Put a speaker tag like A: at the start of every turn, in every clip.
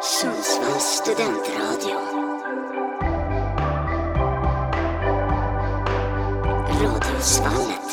A: Sundsvalls studentradio. Radiosvallet.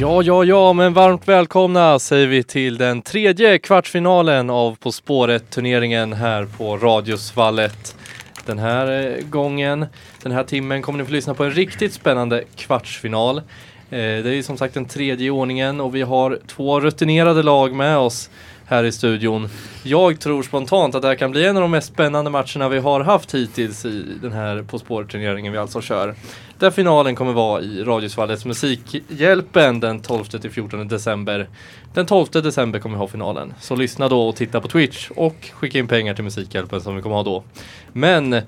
B: Ja, ja, ja, men varmt välkomna säger vi till den tredje kvartsfinalen av På spåret-turneringen här på Radiosvallet. Den här eh, gången, den här timmen kommer ni få lyssna på en riktigt spännande kvartsfinal. Eh, Det är ju som sagt den tredje i ordningen och vi har två rutinerade lag med oss här i studion. Jag tror spontant att det här kan bli en av de mest spännande matcherna vi har haft hittills i den här På spåret-turneringen vi alltså kör. Där finalen kommer vara i Radiosvallets Musikhjälpen den 12-14 december. Den 12 december kommer vi ha finalen. Så lyssna då och titta på Twitch och skicka in pengar till Musikhjälpen som vi kommer ha då. Men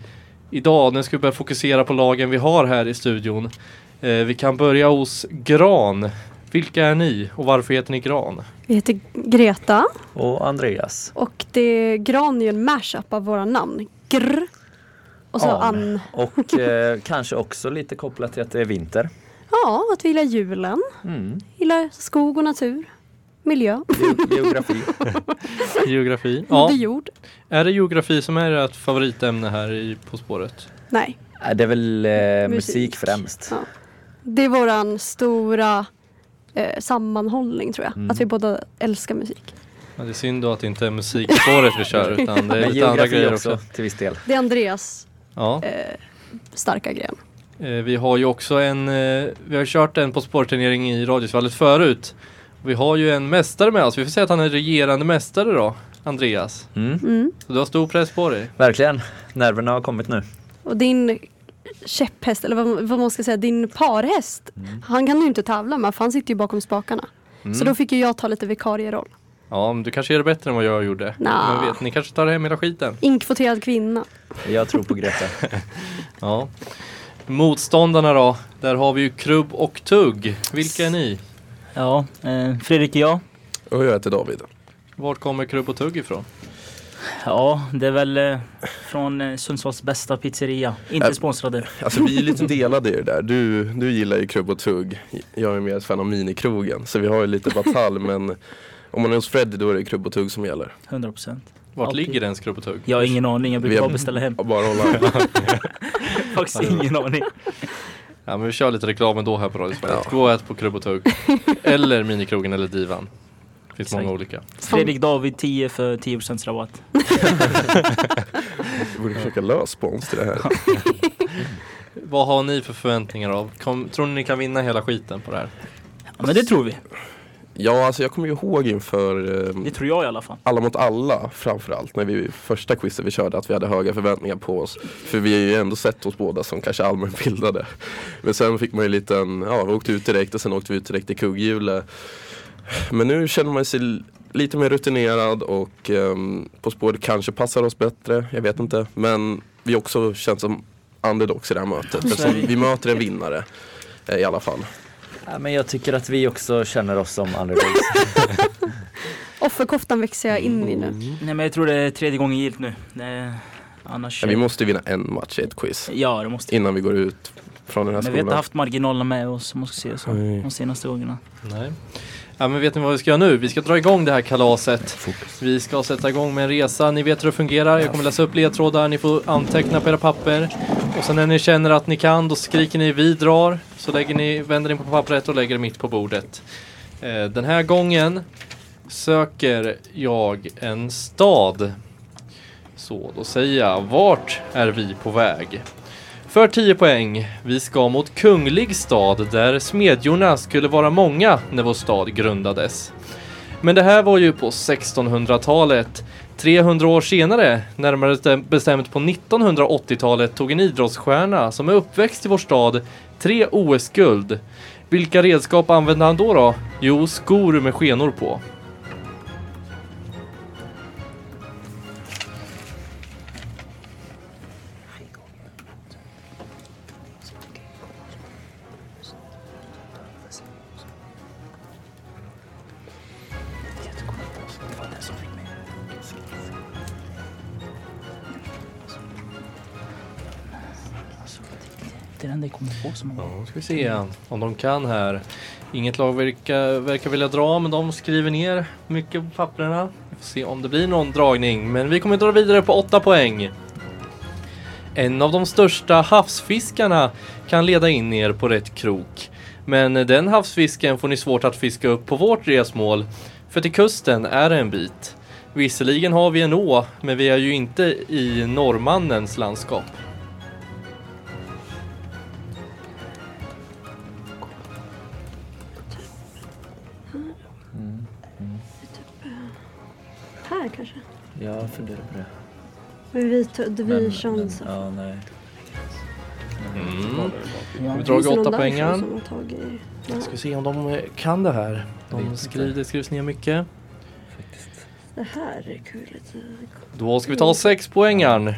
B: idag, nu ska vi börja fokusera på lagen vi har här i studion. Eh, vi kan börja hos Gran. Vilka är ni och varför heter ni Gran?
C: Vi heter Greta
D: Och Andreas.
C: och det Gran är ju en mashup av våra namn. Grr. Och så
D: An.
C: Ann.
D: Och eh, kanske också lite kopplat till att det är vinter.
C: Ja, att vi gillar julen.
D: Mm.
C: Gillar skog och natur. Miljö.
D: Ge- Geografi.
B: Geografi?
C: Ja.
B: Ja.
C: jord.
B: Är det geografi som är ert favoritämne här i På spåret?
C: Nej.
D: Nej, Äh, Det är väl eh,
C: Musik.
D: musik främst.
C: Ja. Det är våran stora eh, sammanhållning tror jag.
D: Mm.
C: Att vi båda älskar musik.
B: Ja, det är synd då att det inte är musikspåret vi kör utan det är
D: Men
B: lite andra
D: geografi
B: grejer
D: också
B: också.
D: till viss del.
C: Det är Andreas
B: Ja.
C: starka gren.
B: Eh, vi har ju också en, eh, vi har kört en På spårturnering i Radiosvallet förut. Vi har ju en mästare med oss, vi får säga att han är regerande mästare då, Andreas.
D: Mm.
C: Mm.
B: Så du har stor press på dig.
D: Verkligen. Nerverna har kommit nu.
C: Och din käpphäst, eller vad, vad man ska säga, din parhäst. Han kan ju inte tävla med för han sitter ju bakom spakarna. Så då fick ju jag ta lite vikarieroll.
B: Ja, men du kanske gör det bättre än vad jag gjorde.
C: Nja.
B: Men vet, ni kanske tar hem hela skiten.
C: Inkvoterad kvinna.
D: Jag tror på Greta.
B: Ja. Motståndarna då, där har vi ju Krubb och Tugg. Vilka är ni?
E: Ja, eh, Fredrik är jag.
F: Och jag heter David.
B: Vart kommer Krubb och Tugg ifrån?
E: Ja, det är väl eh, från eh, Sundsvalls bästa pizzeria. Inte
F: Äh.
E: sponsrade.
F: Alltså vi är lite delade i det där. Du, du gillar ju krubb och tugg. Jag är mer ett fan av minikrogen. Så vi har ju lite batalj men om man är hos Freddy då är det krubb och tugg som gäller.
E: 100 procent.
B: Vart
E: Okej.
B: ligger ens Krubb och Tugg?
E: Jag har ingen aning. Jag
F: Vi
E: brukar
F: har-
E: bara beställa hem.
F: Ja, Bara hålla.
E: Faktiskt ingen aning.
B: Ja, men vi kör lite reklam ändå här på Radio Sverige. Gå och ät på Krubb och Tugg. eller Minikrogen eller Divan. Det finns många
E: Exakt.
B: olika.
E: Fredrik David 10 för 10 procents rabatt.
F: Vi borde försöka lösa spons till det här.
B: Vad har ni för förväntningar av? Kom, tror ni ni kan vinna hela skiten på det här?
E: Ja, men det tror vi.
F: Ja alltså jag kommer ju ihåg inför eh,
E: Det tror jag i alla fall.
F: alla mot alla framförallt när vi första quizet vi körde att vi hade höga förväntningar på oss. För vi har ju ändå sett oss båda som kanske allmänbildade. Men sen fick man ju lite en, ja vi åkte ut direkt och sen åkte vi ut direkt i kugghjulet. Men nu känner man sig l- lite mer rutinerad och ehm, På spåret kanske passar oss bättre, jag vet inte. Men vi också känns som underdogs i det här mötet. Eftersom vi, vi möter en vinnare eh, i alla fall.
D: Ja, Äh, men jag tycker att vi också känner oss som underdogs.
C: Offerkoftan växer jag in i nu.
E: Nej, men jag tror det är tredje gången gilt nu. Eh, annars...
F: Ja, vi måste ju vinna en match i ett quiz
E: Ja, det måste vi.
F: innan vi går ut från den här
E: Men vi har
F: skolan.
E: inte haft marginalerna med oss, måste jag säga så.
F: Nej.
E: De senaste gångerna.
B: Nej. Ja, men vet ni vad vi ska göra nu? Vi ska dra igång det här kalaset. Vi ska sätta igång med en resa. Ni vet hur det fungerar. Jag kommer läsa upp ledtrådar. Ni får anteckna på era papper. Och sen när ni känner att ni kan, då skriker ni vi drar. Så lägger ni, vänder ni på pappret och lägger det mitt på bordet. Eh, den här gången söker jag en stad. Så då säger jag, vart är vi på väg? För 10 poäng. Vi ska mot Kunglig stad där smedjorna skulle vara många när vår stad grundades. Men det här var ju på 1600-talet. 300 år senare, närmare stäm- bestämt på 1980-talet, tog en idrottsstjärna som är uppväxt i vår stad tre OS-guld. Vilka redskap använde han då då? Jo, skor med skenor på.
E: Det är den det kommer på så många gånger.
B: Nu ska vi se om de kan här. Inget lag verkar, verkar vilja dra, men de skriver ner mycket på papperna. Vi får se om det blir någon dragning, men vi kommer dra vidare på åtta poäng. En av de största havsfiskarna kan leda in er på rätt krok. Men den havsfisken får ni svårt att fiska upp på vårt resmål, för till kusten är det en bit. Visserligen har vi en å, men vi är ju inte i norrmannens landskap.
C: Här kanske?
D: Jag funderar på det.
C: Men vi tog vi
D: ja, nej.
B: Mm. Vi
E: Ja.
B: drar åtta poängen.
C: Som har tagit... Ja,
B: Ska vi se om de eh, kan det här. De skriver, det skrivs ner mycket.
C: det här är kul.
B: Då ska vi ta sex poängen.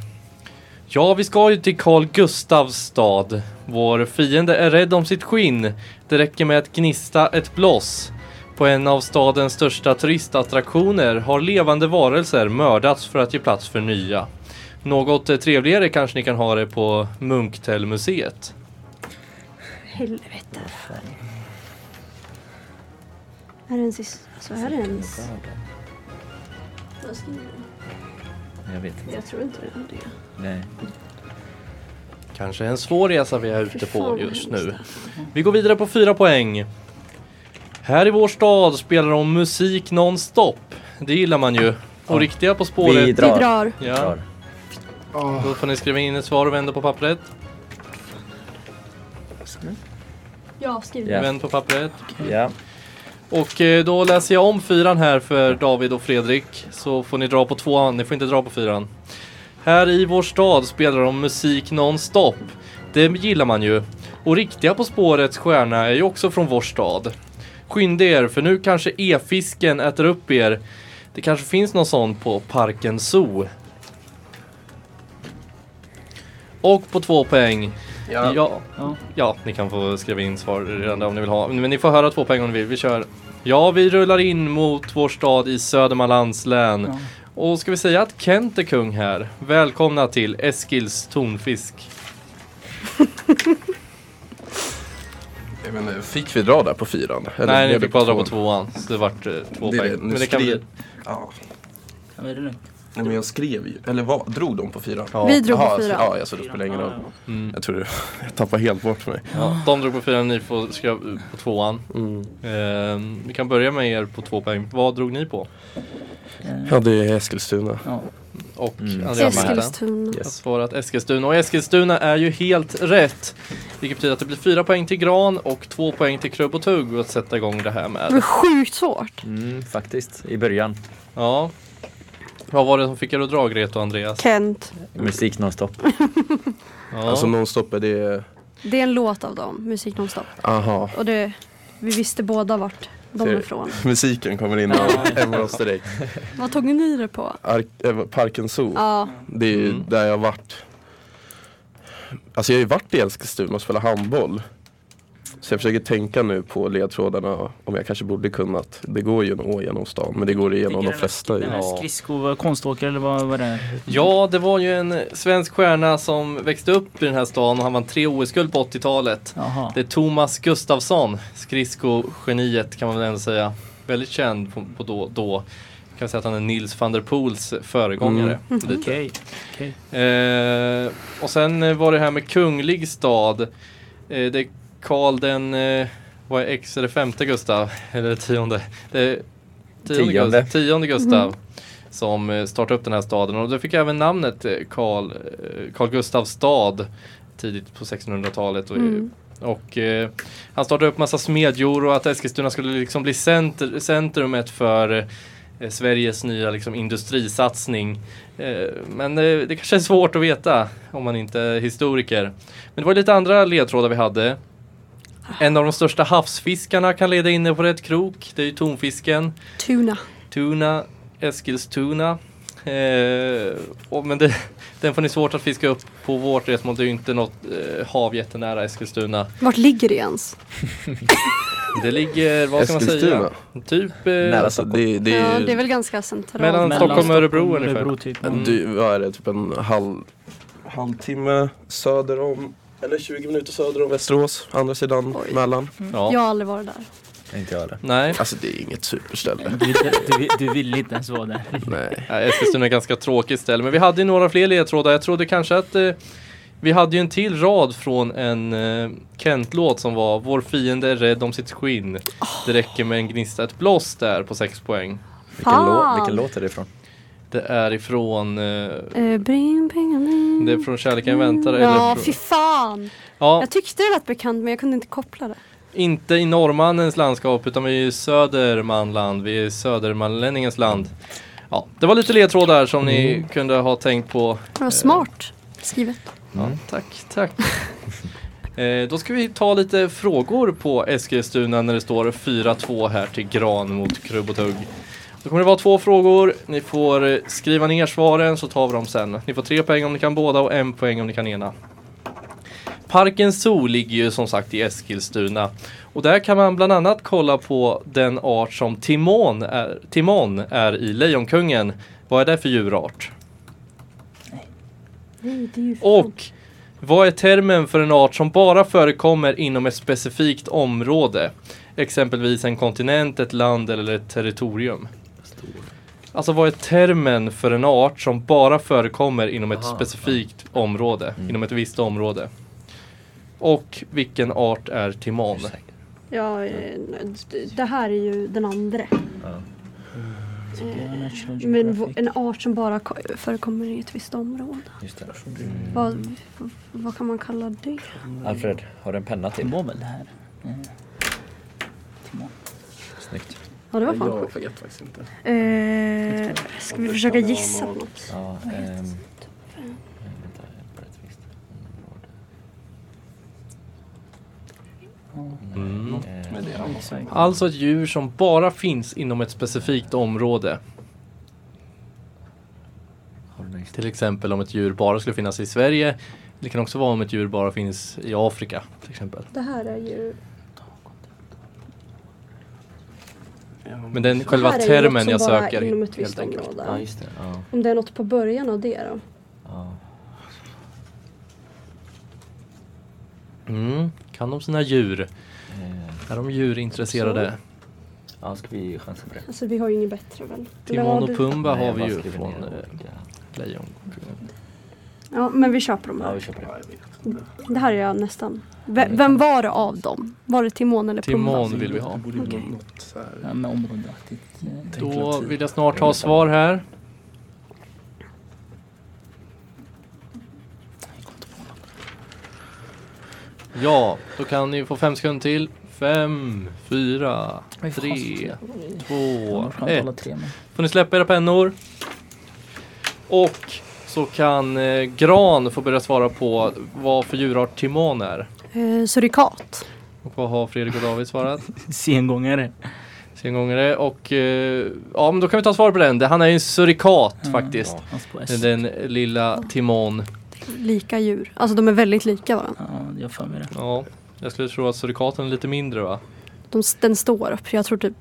B: Ja, vi ska ju till Carl Gustavs stad. Vår fiende är rädd om sitt skinn. Det räcker med att gnista ett blås. På en av stadens största turistattraktioner har levande varelser mördats för att ge plats för nya. Något eh, trevligare kanske ni kan ha det på Munktellmuseet.
C: Helvete. Är det en sista? Så är det ens?
D: Jag vet inte.
C: Jag tror inte det. det.
D: Nej.
B: Kanske en svår resa vi är ute
C: Fy fan,
B: på
C: vad
B: just
C: hemskt
B: nu. Vi går vidare på fyra poäng. Här i vår stad spelar de musik nonstop. Det gillar man ju. Och
D: Ja.
B: riktiga På
D: Vi
B: spåret.
D: drar.
C: Vi drar.
B: Ja,
D: Klar.
B: då får ni skriva in ett svar och vända på pappret.
C: Ja, skriv
D: Ja.
B: Vänd på pappret.
D: Ja.
B: Och eh, då läser jag om fyran här för David och Fredrik. Så får ni dra på tvåan, ni får inte dra på fyran. Här i vår stad spelar de musik nonstop. Det gillar man ju. Och riktiga På spårets stjärna är ju också från vår stad. Skynda er, för nu kanske e-fisken äter upp er. Det kanske finns någon sån på Parken Zoo. Och på två poäng.
F: Ja.
B: ja.
E: Ja.
B: Ja, ni kan få skriva in svar redan där om ni vill ha. Men ni får höra två poäng om ni vill. Vi kör. Ja, vi rullar in mot vår stad i Södermanlands län.
E: Ja.
B: Och ska vi säga att Kent är kung här. Välkomna till Eskils tonfisk.
F: Jag vet inte, fick vi dra där på fyran? Eller
B: Nej, ni
F: blev
B: fick
F: det
B: bara dra på
F: tvåan?
B: tvåan. Så det vart eh, två
F: Det är
B: poäng.
F: det, nu
B: Men det kan
F: skri-
B: bli...
F: Ja.
E: Ja, men är det nu?
F: Nej men jag skrev ju, eller vad, drog de på fyran?
B: Ja.
C: Vi drog på
F: Jaha,
C: fyra.
F: Ja, alltså det spelar ingen roll.
B: Mm.
F: Jag tror det, jag tappade helt bort mig.
B: Ja, de drog på fyran, ni får skriva eh, på tvåan. Ehm, vi kan börja med er på två poäng. Vad drog ni på?
E: Eh,
F: Ja, det är Eskilstuna.
E: Ja.
B: Och
D: Mm.
B: Andreas Martin?
C: Eskilstuna.
B: Jag har svarat Eskilstuna och Eskilstuna är ju helt rätt. Vilket betyder att det blir fyra poäng till Gran och två poäng till Krubb och Tugg att sätta igång det här
C: Det var
B: med.
C: sjukt svårt.
D: Mm, faktiskt. I början.
B: Ja. Vad var det som fick er att dra Greta och Andreas?
C: Kent.
D: Musik nonstop.
B: Ja.
F: Alltså nonstop är det,
C: Det är en låt av dem, Musik Nonstop.
F: aha.
C: Och det, vi visste båda vart de
F: Ser-
C: är ifrån.
F: Musiken kommer in hemma hos direkt.
C: Vad tog ni det på?
F: Ark- eh, Parken Zoo,
C: Ja,
F: det är ju
B: Mm.
F: där jag har varit. Alltså jag har ju varit i Eskilstuna och spelat handboll. Så jag försöker tänka nu på ledtrådarna om jag kanske borde kunnat. Det går ju en å genom stan men det går igenom de flesta.
E: Den
F: ju.
E: här skridsko, konståkare eller vad var det?
B: ja, det var ju en svensk stjärna som växte upp i den här stan och han vann tre OS-guld på 80-talet.
E: Jaha.
B: Det är Thomas Gustafsson, skridskogeniet kan man väl ändå säga. Väldigt känd på, på då, då. Kan säga att han är Nils van der Poels föregångare. Lite.
E: Okej. Okej.
B: Eh, och sen eh, var det här med kunglig stad. Eh, det är Karl den, eh, vad är X, är det femte Gustav? Eller tionde? Det är tionde,
D: Tionde.
B: Gustav, tionde Gustav. Som eh, startade upp den här staden och det fick även namnet eh, Karl, eh, Karl Gustavs stad tidigt på 1600-talet. Och,
C: Mm.
B: och eh, han startade upp massa smedjor och att Eskilstuna skulle liksom bli center, centrumet för eh, Sveriges nya liksom, industrisatsning. Eh, men eh, det kanske är svårt att veta om man inte är historiker. Men det var lite andra ledtrådar vi hade. En av de största havsfiskarna kan leda in er på rätt krok. Det är ju tonfisken.
C: Tuna.
B: Tuna, Eskilstuna. Eh, och, men det, den får ni svårt att fiska upp på vårt resmål. Det är ju inte något eh, hav jättenära Eskilstuna.
C: Vart ligger det ens?
B: Det ligger, vad ska man säga?
F: Eskilstuna?
B: Typ eh,
D: Nära
F: Alltså det, det
C: Ja,
F: är
C: det är
F: ju,
C: väl ganska centralt.
B: Mellan
E: Mellan
B: Stockholm och Örebro ungefär.
F: Mm.
E: Örebro typ.
F: en dy- vad är det, typ en halv, halvtimme söder om Eller 20 minuter söder om Västerås, andra sidan
C: Oj.
F: Mälaren.
B: Ja.
C: Jag har aldrig varit där.
D: Inte jag heller.
B: Nej,
F: Alltså det är inget superställe.
E: Du, du, du ville inte ens vara där.
F: Nej.
B: Nej, Eskilstuna är ett ganska tråkigt ställe. Men vi hade ju några fler ledtrådar. Jag trodde kanske att eh, vi hade ju en till rad från en eh, Kent-låt som var Vår fiende är rädd om sitt skinn. Det räcker med en gnista, ett blås där på 6 poäng.
D: Vilken, lå-
C: Fan.
D: vilken låt är det ifrån?
B: Det är ifrån eh,
C: Eh, bring, bring, bring.
B: det är från Kärleken väntar.
C: Ja,
B: eller,
C: fy fan.
B: ja,
C: Jag tyckte det lät bekant men jag kunde inte koppla det.
B: inte i norrmannens landskap utan vi är i södermanland. Vi är i södermanlänningens land. Ja, det var lite ledtrådar som ni kunde ha tänkt på
C: Det var smart skrivet.
B: Ja, tack, tack. eh, då ska vi ta lite frågor på Eskilstuna när det står 4-2 här till Gran mot Krubb och Tugg. Då kommer det vara två frågor. Ni får eh, skriva ner svaren så tar vi dem sen. Ni får tre poäng om ni kan båda och en poäng om ni kan ena. Parken Zoo ligger ju som sagt i Eskilstuna. Och där kan man bland annat kolla på den art som Timon är, Timon är i Lejonkungen. Vad är det för djurart?
C: Nej, det är ju
B: Och vad är termen för en art som bara förekommer inom ett specifikt område? Exempelvis en kontinent, ett land eller ett territorium. Alltså vad är termen för en art som bara förekommer inom ett specifikt område? Inom ett visst område. Och vilken art är timon?
C: Ja, eh, d- det här är ju den andra. Men v- en art som bara ko- förekommer i ett visst område.
D: Just det. Mm.
C: Vad, vad kan man kalla det?
D: Alfred, har du en penna
E: Det
D: till?
E: var väl det här.
D: Snyggt.
C: Ja, det var fan sjukt.
F: vet faktiskt inte.
C: Eh, ska vi försöka gissa på något?
D: Ja, ehm, eh, vänta, på rätt vis.
B: Mm.
D: Eh,
B: Alltså ett djur som bara finns inom ett specifikt område.
D: har du någon
B: Till exempel om ett djur bara skulle finnas i Sverige. Det kan också vara om ett djur bara finns i Afrika till exempel.
C: Det här är ju...
B: Men den själva
C: här är ju något
B: termen
C: som
B: jag
C: bara
B: söker
C: är inom ett
B: helt
C: visst
B: enkelt.
C: område.
D: Ja, just det. Ja,
C: Om det är något på början av det då?
D: ja.
B: Mm. Kan de sina djur?
D: Eh,
B: Är de djurintresserade?
D: ja, ska vi chansa på det?
C: Alltså vi har ju inget bättre väl? Eller
B: Timon
C: vad
B: och
C: du-
B: Pumba
D: Nej,
B: har vi
D: jag
B: ju
D: bara skriver
B: från
D: ner
B: eh,
D: olika-
B: Lejonkungen.
C: Ja, men vi köper dem
D: Ja,
C: här.
D: vi köper det.
C: Det här är jag nästan. V- vem var det av dem? Var det Timon eller Pumba?
B: Timon vill vi ha.
C: Okej.
E: Ja, med områdeaktigt. eh,
B: Då vill jag snart ha svar här. Ja, då kan ni få fem sekunder till. Fem, fyra,
E: Oj, fan,
B: tre,
E: Jag
B: två,
E: har skönt att
B: ett.
E: hålla tre med.
B: får ni släppa era pennor. Och så kan eh, Gran få börja svara på vad för djurart timon är.
C: Eh, surikat.
B: Och vad har Fredrik och David svarat?
E: Sengångare.
B: Sengångare och eh, ja men då kan vi ta svar på den. Det- Han är ju en surikat
E: Mm,
B: faktiskt.
E: Fast på S.
B: Den lilla timon.
C: Lika djur. Alltså de är väldigt lika varandra.
E: Ja, jag har för mig det.
B: Ja, jag skulle tro att surikaten är lite mindre va?
C: De, den står upp. Jag tror typ...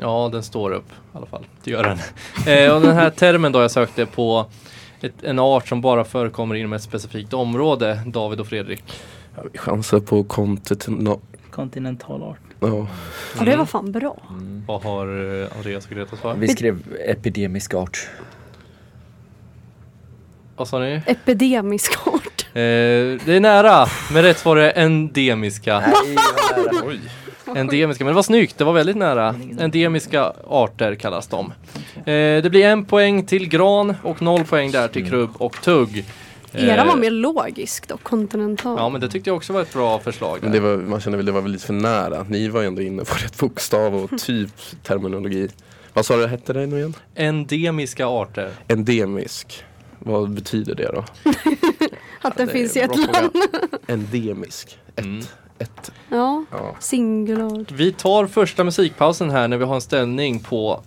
B: Ja, den står upp i alla fall. Det gör den. eh, och den här termen då jag sökte på ett, en art som bara förekommer inom ett specifikt område. David och Fredrik.
F: Ja, vi chansar på kontinent.
E: Kontinentalart.
F: Ja.
B: Mm.
C: Ja, det var fan bra.
D: Mm.
B: Vad har eh, Andreas och Greta svarat?
D: Vi skrev epidemisk art.
B: Vad sa ni? Eh,
C: Epidemisk art.
B: det är nära, men rätt svar är endemiska.
D: Nej, vad nära.
F: Oj.
B: Endemiska, men det var snyggt, det var väldigt nära. Endemiska arter kallas de. Eh, det blir en poäng till gran och noll poäng där
F: Mm.
B: till krubb och tugg. Eh,
C: Era var mer logisk och kontinental.
B: Ja, men det tyckte jag också var ett bra förslag.
F: Men
B: Där.
F: det var, man känner väl det var väl lite för nära. Ni var ju ändå inne på rätt bokstav och typ terminologi. Vad sa du hette det nu igen?
B: Endemiska arter.
F: Endemisk. Vad betyder det då?
C: Att den
F: Det är
C: finns i
F: en
C: ett
F: bra
C: land.
F: fråga. Endemisk. Ett.
B: Mm.
F: ett.
C: Ja.
F: Ja.
C: Singular.
B: Vi tar första musikpausen här när vi har en ställning på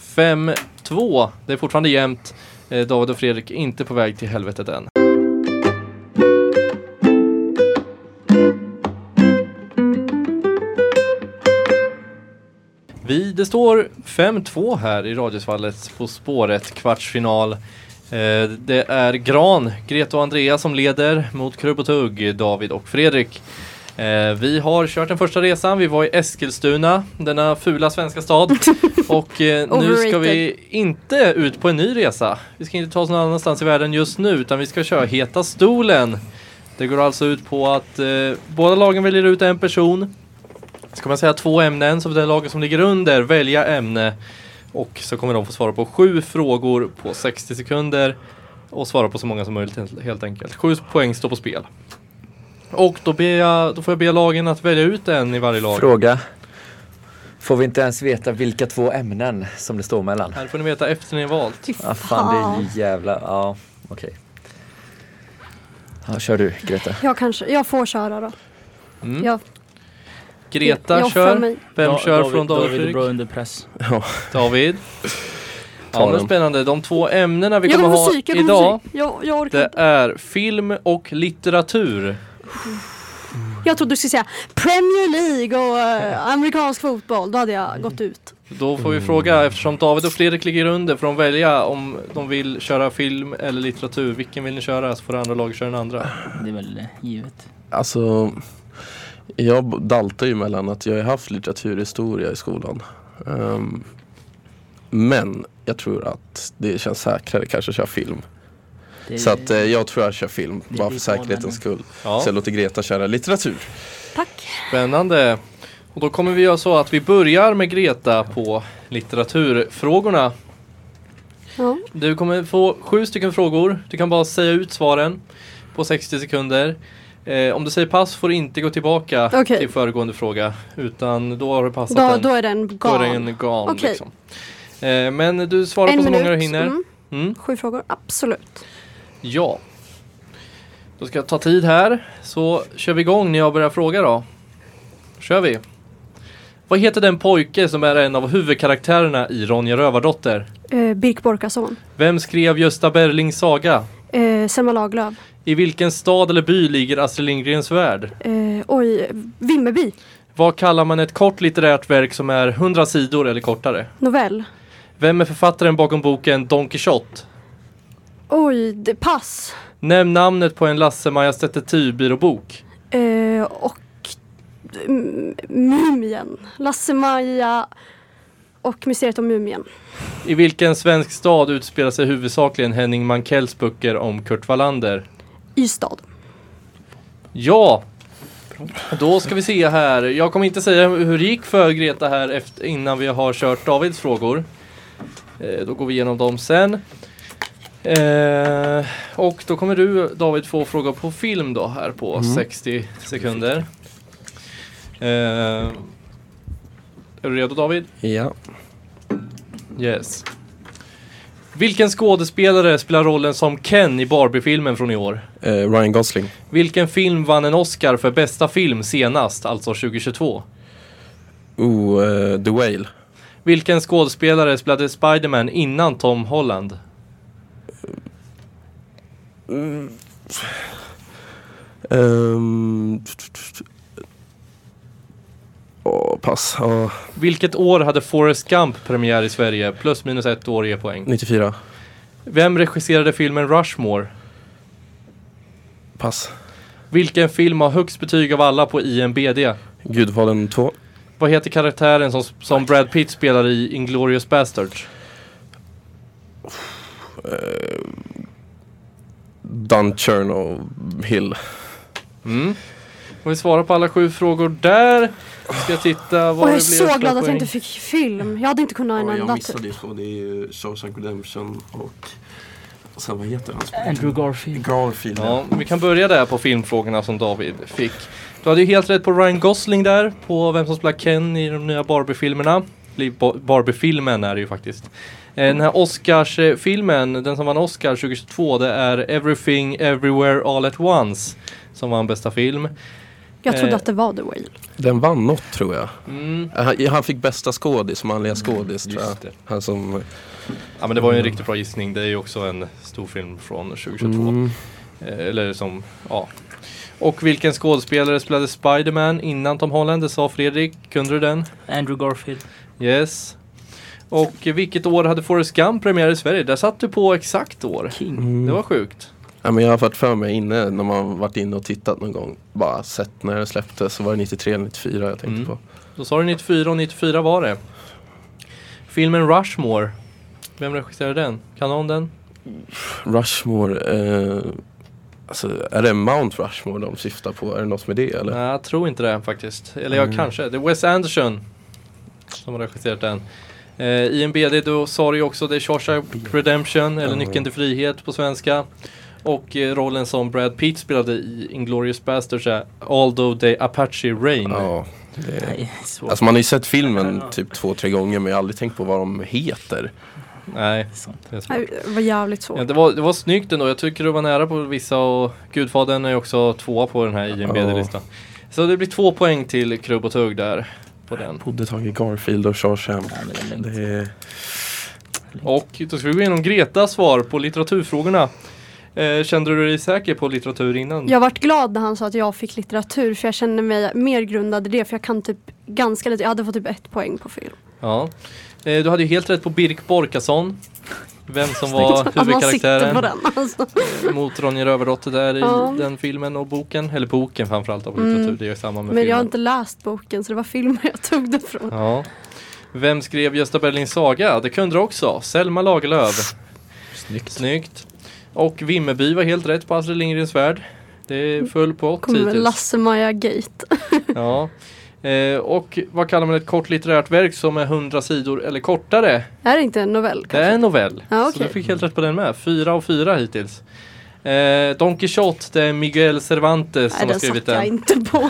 B: 5-2. Det är fortfarande jämnt. Eh, David och Fredrik är inte på väg till helvetet än. Vi, det står 5-2 här i Radiosvallet På spåret kvartsfinal. Eh, Det är Gran, Greta och Andrea som leder mot Krubb och Tugg, David och Fredrik. Eh, Vi har kört den första resan, vi var i Eskilstuna, denna fula svenska stad. Och eh, nu ska vi inte ut på en ny resa. Vi ska inte ta oss någon annanstans i världen just nu, utan vi ska köra Heta stolen. Det går alltså ut på att eh, båda lagen väljer ut en person. Ska man säga två ämnen, så får det laget som ligger under välja ämne. Och så kommer de få svara på sju frågor på 60 sekunder och svara på så många som möjligt helt- helt enkelt. Sju poäng står på spel. Och då, ber jag, då får jag be lagen att välja ut en i varje lag.
D: Fråga. Får vi inte ens veta vilka två ämnen som det står mellan?
B: Här får ni veta efter ni har valt.
C: Fy
D: Ja, fan, det är ju jävla... Ja, okej. Ja, kör du, Greta.
C: Jag, kanske, jag får köra då.
B: Mm.
C: Jag,
B: Greta
C: jag offrar
B: kör.
C: mig.
B: Vem
E: Da-
B: kör från David,
E: David är
B: Fredrik?
E: bra under press.
B: David.
F: Ta
B: Ja men
F: den.
B: spännande. De två ämnena vi
C: jag
B: kommer
C: kommer få
B: ha
C: psyk, jag kommer få
B: idag
C: psyk. Jag, jag orkar
B: det
C: inte.
B: är film och litteratur.
C: Jag trodde du skulle säga Premier League och eh, amerikansk fotboll. Då hade jag gått ut.
B: Då får vi fråga, eftersom David och Fredrik ligger under, får de välja om de vill köra film eller litteratur. Vilken vill ni köra? Så får det andra laget köra den andra.
E: Det är väl eh, givet.
F: Alltså, jag b- daltar ju mellan att jag har haft litteraturhistoria i skolan. Ehm, men jag tror att det känns säkrare kanske att köra film.
E: Det är,
F: Så att eh, jag tror jag kör film,
E: det
F: bara
E: blir
F: för
E: bra, men-
F: säkerhetens skull.
B: Ja,
F: Så jag låter Greta köra litteratur.
C: Tack.
B: spännande. Och då kommer vi göra så att vi börjar med Greta på litteraturfrågorna.
C: Ja.
B: Du kommer få sju stycken frågor. Du kan bara säga ut svaren på 60 sekunder. Eh, om du säger pass får du inte gå tillbaka
C: Okej.
B: till föregående fråga. Utan då har du passat
C: Då,
B: den.
C: då är den
B: Då är det
C: galen.
B: en gam
C: Okej.
B: liksom. Eh, men du svarar på så många du hinner.
C: Mm.
B: Mm.
C: Sju frågor, absolut.
B: Ja. Då ska jag ta tid här. Så kör vi igång när jag börjar fråga då. kör vi. Vad heter den pojke som är en av huvudkaraktärerna i Ronja Rövardotter?
C: Eh, Birk Borkason.
B: Vem skrev Gösta Berlings saga?
C: Eh, Selma Lagerlöf.
B: I vilken stad eller by ligger Astrid Lindgrens värld?
C: Eh, oj, Vimmerby.
B: Vad kallar man ett kort litterärt verk som är 100 sidor eller kortare?
C: Novell.
B: Vem är författaren bakom boken Don Quijote?
C: Oj, det, pass.
B: Nämn namnet på en Lasse-Majas detektivbyråbok.
C: Eh, och mm, Mumien. Lasse-Maja och Mysteriet om Mumien.
B: I vilken svensk stad utspelar sig huvudsakligen Henning Mankells böcker om Kurt Wallander?
C: Ystad.
B: Ja! Då ska vi se här. Jag kommer inte säga hur det gick för Greta här efter, innan vi har kört Davids frågor. Eh, då går vi igenom dem sen. Eh, och då kommer du David få fråga på film då här på 60 sekunder. Eh, är du redo David?
F: Ja.
B: Yes. Vilken skådespelare spelar rollen som Ken i Barbie-filmen från i år?
F: Eh, Ryan Gosling.
B: Vilken film vann en Oscar för bästa film senast, alltså 2022?
F: Oh, eh, The Whale.
B: Vilken skådespelare spelade Spiderman innan Tom Holland?
F: Ehm, åh, pass. Ja,
B: Vilket år hade Forrest Gump premiär i Sverige? Plus minus ett år ger poäng.
F: 94.
B: Vem regisserade filmen Rushmore?
F: Pass.
B: Vilken film har högst betyg av alla på IMBD?
F: Gudfadern 2.
B: Vad heter karaktären som, som Brad Pitt spelar i Inglourious Basterds?
F: Duncherno Hill.
B: Mm. Om vi svarar på alla sju frågor där. Ska jag titta vad
C: Och jag är
B: det blev
C: så
B: för
C: glad att jag
B: poäng.
C: inte fick film. Jag hade inte kunnat en enda. typ.
F: det och det är ju Shawshank Redemption och... och sen vad heter han?
E: Andrew Garfield.
F: Garfield.
B: Ja, vi kan börja där på filmfrågorna som David fick. Du hade ju helt rätt på Ryan Gosling där, på vem som spelar Ken i de nya Barbie-filmerna. Eller Ba- Barbie-filmen är det ju faktiskt. Eh, Den här Oscars-filmen, den som vann Oscar 2022, det är Everything Everywhere All At Once. Som vann bästa film.
C: Jag trodde
B: Eh.
C: att det var The Whale.
F: Den vann något tror jag.
B: Mm.
F: Han, han fick bästa skådis, manliga skådis tror jag.
B: Just det.
F: Han som...
B: Ja men det var ju en riktigt bra gissning. Det är ju också en stor film från 2022.
F: Mm,
B: Eh, Eller som, ja. Och vilken skådespelare spelade Spiderman innan Tom Holland? Det sa Fredrik. Kunde du den?
F: Eh,
E: Andrew Garfield.
B: Yes. Och vilket år hade Forrest Gump premiär i Sverige? Där satt du på exakt år.
E: King.
F: Mm.
B: Det var sjukt.
F: Ja, men jag har varit för mig inne när man varit inne och tittat någon gång. Bara sett när den släpptes så var det 93 eller 94 jag tänkte
B: Mm.
F: på.
B: Då sa du 94 och 94 var det. Filmen Rushmore. Vem regisserade den? Kan någon den?
F: Rushmore. Eh, alltså, är det Mount Rushmore de syftar på? Är det något med det eller?
B: Nej, jag tror inte det faktiskt. Eller jag
F: Mm.
B: kanske. Det är Wes Anderson som har regisserat den. Eh, IMBD, då sa du ju också det är Shawshank Redemption, eller Nyckeln till frihet på svenska. Och eh, rollen som Brad Pitt spelade i Inglourious Basterds är Although the Apache Rain.
F: Ja, det är...
E: Nej, svårt.
F: Alltså man har ju sett filmen typ två, tre gånger men jag har aldrig tänkt på vad de heter.
B: Nej,
E: Sånt.
B: det är svårt.
C: Nej, Det var jävligt svårt.
B: Ja, det, var, det var snyggt ändå. Jag tycker du var nära på vissa och Gudfadern är också tvåa på den här IMBD-listan. Så det blir två poäng till Krubb och Tugg där. På den.
F: Bodde Tage Garfield och Shawshank.
E: Ja, men det är lugnt.
F: Det är...
B: Och då ska vi gå igenom Gretas svar på litteraturfrågorna. Eh, kände du dig säker på litteratur innan?
C: Jag vart glad när han sa att jag fick litteratur för jag kände mig mer grundad i det för jag kan typ ganska lite. Jag hade fått typ ett poäng på film.
B: Ja. Eh, du hade ju helt rätt på Birk Borkason. Vem som var
C: Att man sitter på
B: huvudkaraktären
C: den alltså.
B: mot Ronja Rövardotter där i
C: Ja.
B: den filmen och boken. Eller boken framförallt av litteratur,
C: Mm.
B: det är ju samma med
C: Men jag har
B: filmen.
C: inte läst boken så det var filmer jag tog det från.
B: Ja. Vem skrev Gösta Berlings saga? Det kunde du också. Selma Lagerlöf.
D: Snyggt.
B: Snyggt. Och Vimmerby var helt rätt på Astrid Lindgrens Värld. Det föll på
C: Kommer med
B: hittills.
C: Lasse-Maja Gate.
B: Ja. Eh, och vad kallar man ett kort litterärt verk som är 100 sidor eller kortare?
C: Är det inte en novell?
B: Det är en novell.
C: Ja,
B: Så
C: okej.
B: du fick helt rätt på den med. Fyra av fyra hittills. Eh, Don Quixote, det är Miguel Cervantes
C: Nej,
B: som har
C: den
B: skrivit
C: satt jag
B: den.
C: inte på.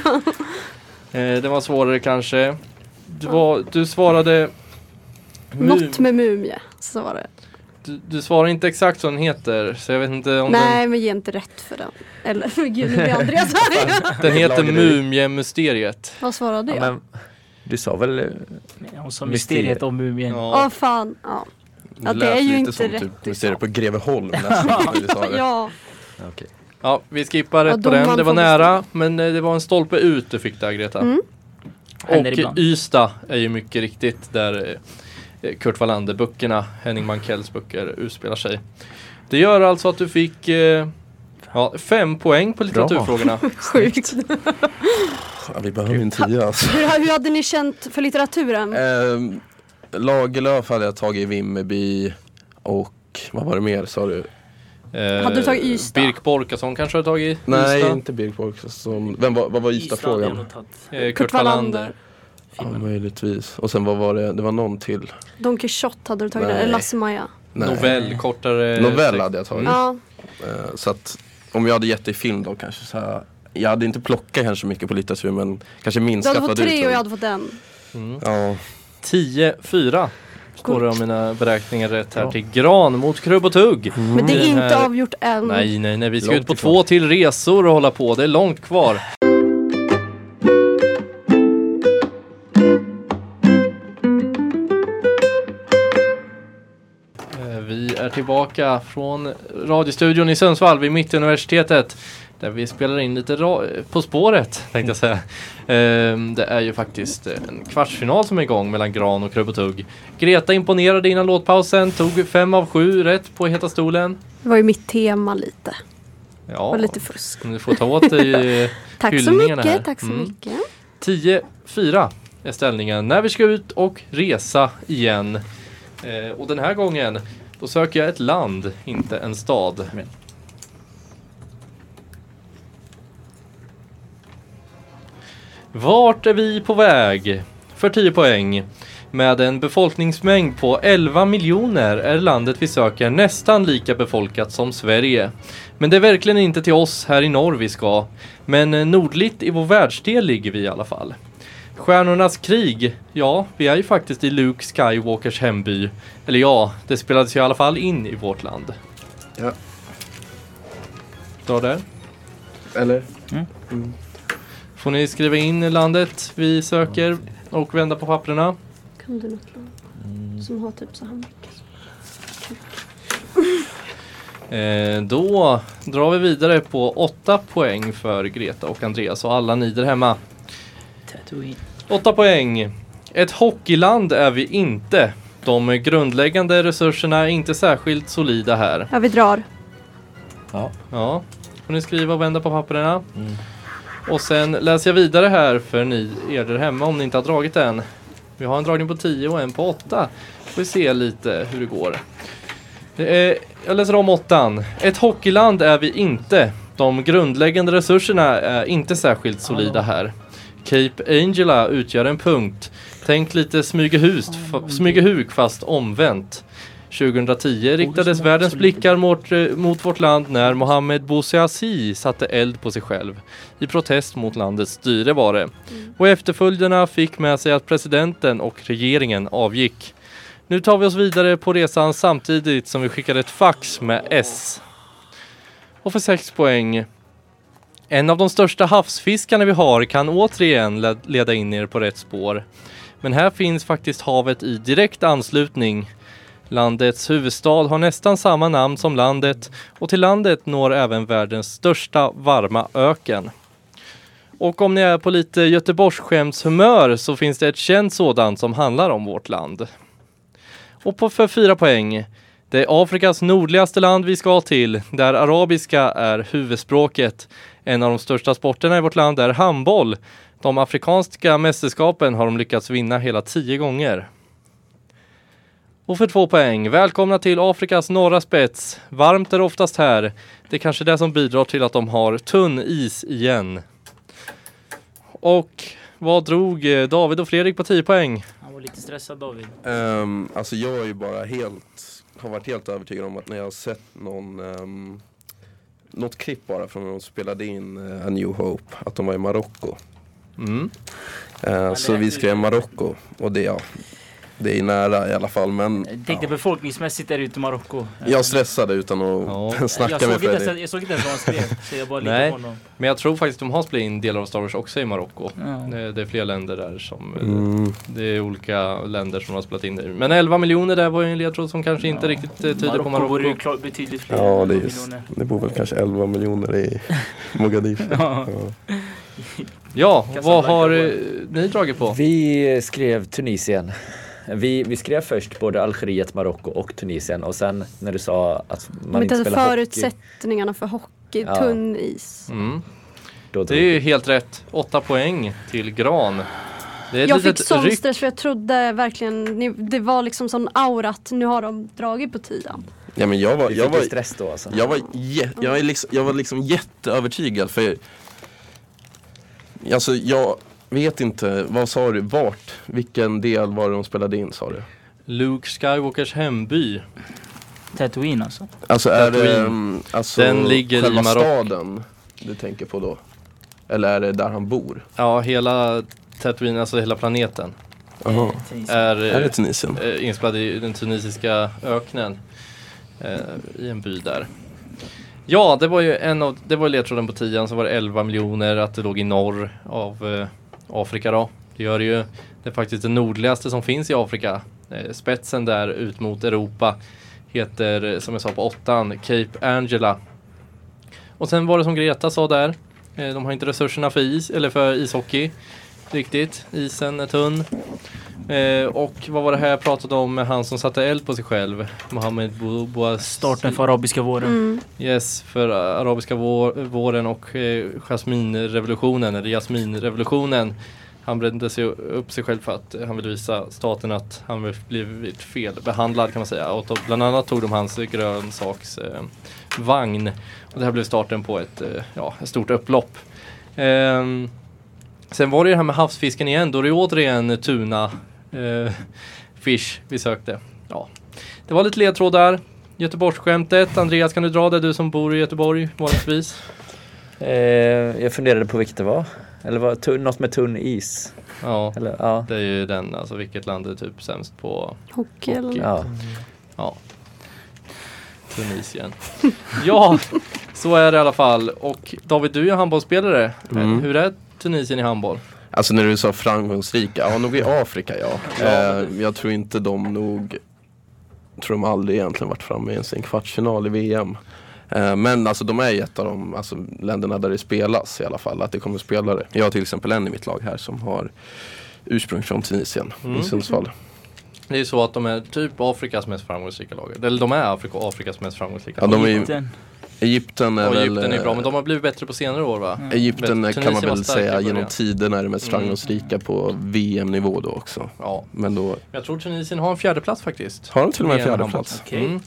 B: Eh, den var svårare kanske. Du, var, du svarade... Mu-
C: Något med mumie, så var det.
B: du, du svarade inte exakt vad den heter, så jag vet inte om
C: Nej, men ge inte rätt för den. Eller, för gud, nu blir Andreas arg.
B: den... Den heter
D: Lager dig.
B: Mumie-mysteriet.
C: Vad svarade
D: Ja,
C: jag?
D: men, du sa väl eh,
E: Hon sa
D: Mysteriet.
E: mysteriet om mumien.
C: Åh
B: Ja.
C: fan. Ja. Ja, det
F: lät
C: är ju
F: lite
C: inte
F: som
C: rätt
F: Typ,
C: du
F: vi ser det
C: sa.
F: på Greveholm nästan. när vi sa det.
C: ja.
B: ja, vi skippar
C: Ja,
B: rätt på den.
C: domaren
B: Det var
C: får
B: nära, men eh, det var en stolpe ut du fick där Greta.
C: Mm.
E: Händer
B: Och
E: ibland.
B: Ystad är ju mycket riktigt där eh, Kurt Wallander-böckerna, Henning Mankells böcker, utspelar sig. Det gör alltså att du fick eh, ja, fem poäng på litteraturfrågorna.
C: Sjukt.
F: Ja, vi behöver ju en tia alltså.
C: Hur, hur hade ni känt för litteraturen?
B: Eh,
C: Mm.
F: Ehm, Lagerlöf hade jag tagit i Vimmerby och vad var det mer sa du?
B: Eh,
C: Hade du tagit Ystad?
B: Birk Borkason kanske har tagit
F: Nej,
B: Ystad. Eh,
F: inte Birk Borkason. Vem var, vad var
E: hade jag
F: Ystad-frågan?
E: nog tagit.
B: Eh, Kurt,
C: Kurt Wallander.
B: Wallander.
F: Ja, möjligtvis. Och sen vad var det? Det var någon till.
C: Don Quixote hade du tagit
F: Nej.
C: där, eller Lasse-Maja?
B: Mm.
F: Nej.
B: Novell, kortare.
F: Novell hade jag tagit.
C: Ja.
F: Eh, Så att om jag hade gett dig film då kanske så här. Jag hade inte plockat kanske så mycket på litteratur men kanske
C: Du
F: minskat
C: hade fått
F: du
C: tre och
F: tog.
C: jag hade fått en.
B: Mm.
F: Ja,
B: 10-4 står det om mina beräkningar rätt här till Gran mot Krubb och Tugg.
C: Men det
B: Mm. Det
C: är inte
B: här-
C: avgjort än.
B: Nej, nej, nej. Vi ska
F: Mm. Långt
B: ut på
F: ifrån.
B: två till resor och hålla på. Det är långt kvar. Eh, Vi är tillbaka från radiostudion i Sundsvall vid Mittuniversitetet. Där vi spelar in lite ra- På spåret, tänkte jag säga. Ehm, Det är ju faktiskt en kvartsfinal som är igång mellan Gran och Krubb och Tugg. Greta imponerade innan låtpausen, tog fem av sju rätt på Heta stolen.
C: Det var ju mitt tema lite.
B: Ja,
C: Och lite fusk.
B: men du får ta åt dig eh,
C: Tack så
B: hyllningarna här.
C: mycket, tack så
B: Mm.
C: mycket.
B: 10-4 är ställningen när vi ska ut och resa igen. Eh, och den här gången, då söker jag ett land, inte en stad. Vart är vi på väg? För 10 poäng. Med en befolkningsmängd på 11 miljoner är landet vi söker nästan lika befolkat som Sverige. Men det är verkligen inte till oss här i norr vi ska. Men eh, nordligt i vår världsdel ligger vi i alla fall. Stjärnornas krig, ja, vi är ju faktiskt i Luke Skywalkers hemby. Eller ja, det spelades ju i alla fall in i vårt land.
F: Ja.
B: Dra där.
F: eller?
B: Får ni skriva in landet vi söker och vända på papperna.
C: Kan du något land
B: Mm.
C: som har typ så här mycket?
B: Eh, då drar vi vidare på 8 poäng för Greta och Andreas och alla ni där hemma.
E: Tatooine.
B: Åtta poäng. Ett hockeyland är vi inte. De grundläggande resurserna är inte särskilt solida här.
C: Ja, vi drar.
D: Ja.
B: Ja, får ni skriva och vända på papperna. Och sen läser jag vidare här för ni er där hemma om ni inte har dragit än. Vi har en dragning på 10 och en på 8. Får vi se lite hur det går. Eh, Jag läser om åttan. Ett hockeyland är vi inte. De grundläggande resurserna är inte särskilt solida här. Cape Angela utgör en punkt. Tänk lite smygehus, fa- smygehuk fast omvänt. 2010 riktades världens blickar mot, eh, mot vårt land när Mohammed Bouazizi satte eld på sig själv i protest mot landets styre var det. Och efterföljderna fick med sig att presidenten och regeringen avgick. Nu tar vi oss vidare på resan samtidigt som vi skickar ett fax med S. Och för 6 poäng. En av de största havsfiskarna vi har kan återigen le- leda in er på rätt spår. Men här finns faktiskt havet i direkt anslutning. Landets huvudstad har nästan samma namn som landet och till landet når även världens största varma öken. Och om ni är på lite Göteborgsskämtshumör så finns det ett känt sådant som handlar om vårt land. Och på för fyra poäng. Det är Afrikas nordligaste land vi ska till, där arabiska är huvudspråket. En av de största sporterna i vårt land är handboll. De afrikanska mästerskapen har de lyckats vinna hela tio gånger. Och för två poäng, välkomna till Afrikas norra spets. Varmt är det oftast här. Det är kanske det som bidrar till att de har tunn is igen. Och vad drog eh, David och Fredrik på 10 poäng?
E: Han var lite stressad David.
F: Ehm, alltså jag är ju bara helt, har varit helt övertygad om att när jag har sett någon ehm, något klipp bara från när de spelade in eh, A New Hope, att de var i Marocko.
B: Mm.
F: Eh, så vi skrev Marocko och det, ja, det är nära i alla fall men
E: Jag tänkte
F: ja.
E: befolkningsmässigt är det ute i Marocko. Eh,
F: jag stressade utan att
B: Ja.
E: jag,
F: snacka
E: såg
F: med
E: inte ens,
F: Fredrik.
E: jag såg inte ens vad han skrev, så jag bara
B: Nej.
E: litade på honom.
B: Men jag tror faktiskt de har spelat in delar av Star Wars också i Marocko. Eh,
E: Ja.
B: Det, det är fler länder där som... eh,
F: Mm.
B: Det är olika länder som har spelat in det. Men 11 miljoner där var ju en ledtråd som kanske inte
E: Ja.
B: riktigt eh, tyder på
E: Marocko
B: Marocko.
E: vore ju klart betydligt fler
F: Ja,
E: än
F: det, är,
E: miljoner.
F: det bor väl kanske 11 miljoner i Mogadishu.
E: Ja.
B: Ja,
E: Casablanca
B: vad har
E: var-
B: eh, ni dragit på?
D: Vi skrev Tunisien. Vi, vi skrev först både Algeriet, Marocko och Tunisien och sen när du sa att man
C: Man inte
D: inte
C: hade
D: spelar hockey.
C: alltså förutsättningarna för hockey,
D: Ja.
C: tunn is.
B: Mm.
D: Då
B: Det är ju helt rätt. 8 poäng till Gran. Det är ett
C: Jag fick
B: litet
C: sån
B: ryck.
C: stress för jag trodde verkligen, ni- det var liksom sån aura att nu har de dragit på tian.
F: Ja, men jag var,
D: vi
F: jag
D: fick ju
F: var,
D: stress då alltså.
F: jag var, jä, jag är liksom, jag var liksom jätteövertygad för Alltså jag vet inte, vad sa du, vart, vilken del var det de spelade in sa du?
B: Luke Skywalkers hemby.
E: Tatooine alltså.
F: Alltså är det
B: Tatooine.
F: mm, alltså,
B: Den ligger i
F: själva
B: Marocko.
F: staden du tänker på då? Eller är det där han bor?
B: Ja, hela Tatooine, alltså hela planeten,
F: Jaha,
B: är,
F: är det
B: eh,
F: Tunisien?
B: eh, inspelad i den tunisiska öknen eh, i en by där. Ja, det var ju en av, det var ju ledtråden på tian, så var det 11 miljoner att det låg i norr av eh, Afrika då. Det gör det ju, det är faktiskt det nordligaste som finns i Afrika. Eh, spetsen där ut mot Europa heter, eh, som jag sa på åttan, Cape Angela. Och sen var det som Greta sa där, eh, de har inte resurserna för is, eller för ishockey riktigt. Isen är tunn. Eh, och vad var det här jag pratade om med han som satte eld på sig själv? Mohammed Bou- Bouazizi.
E: Starten för arabiska våren.
B: Yes, för eh, arabiska vår, våren och eh, jasminrevolutionen, eller jasminrevolutionen. Han brände sig upp sig själv för att eh, han ville visa staten att han blivit felbehandlad kan man säga. Och då, bland annat tog de hans eh, grönsaks eh, vagn. Och det här blev starten på ett, eh, ja, ett stort upplopp. Ehm, sen var det ju det här med havsfisken igen, då är det ju återigen tuna eh, fish vi sökte. Ja. Det var lite ledtrådar. Göteborgsskämtet. Andreas, kan du dra det? Du som bor i Göteborg vanligtvis.
D: Eh, jag funderade på vilket det var. Eller var tun, något med tunn is.
B: Ja,
D: Eller, ja.
B: det är ju den, alltså vilket land är typ sämst på
C: Hockey eller
B: Hockey.
D: ja.
B: ja, Tunisien. ja, så är det i alla fall. Och David, du är handbollsspelare.
F: Mm.
B: Hur är Tunisien i handboll?
F: Alltså när du sa framgångsrika, ja nog i
B: Mm.
F: Afrika ja. Eh, jag tror inte de nog, tror de aldrig egentligen varit framme i ens en kvartsfinal i VM. Eh, men alltså de är ju ett av de alltså, länderna där det spelas i alla fall, att det kommer spelare. Jag har till exempel en i mitt lag här som har ursprung från Tunisien,
B: Mm.
F: i Sundsvall.
B: Det är ju så att de är typ Afrikas mest framgångsrika lag. Eller de är Afrika, Afrikas mest framgångsrika
F: Ja,
B: lag.
F: de är ju-
E: Egypten.
F: Egypten är
B: och
F: väl... eh, Mm.
B: Egypten är bra, men de har blivit bättre på senare år va?
F: Egypten
B: Tunisien
F: kan man
B: var
F: väl
B: starka i
F: säga
B: början. Mm.
F: genom tiderna är det mest framgångsrika på VM-nivå då också.
B: Ja,
F: Men då
B: jag tror Tunisien har en fjärde plats faktiskt.
F: har de till och med en
B: VM
F: fjärde
B: handboll.
F: plats.
E: Okej.
B: Mm.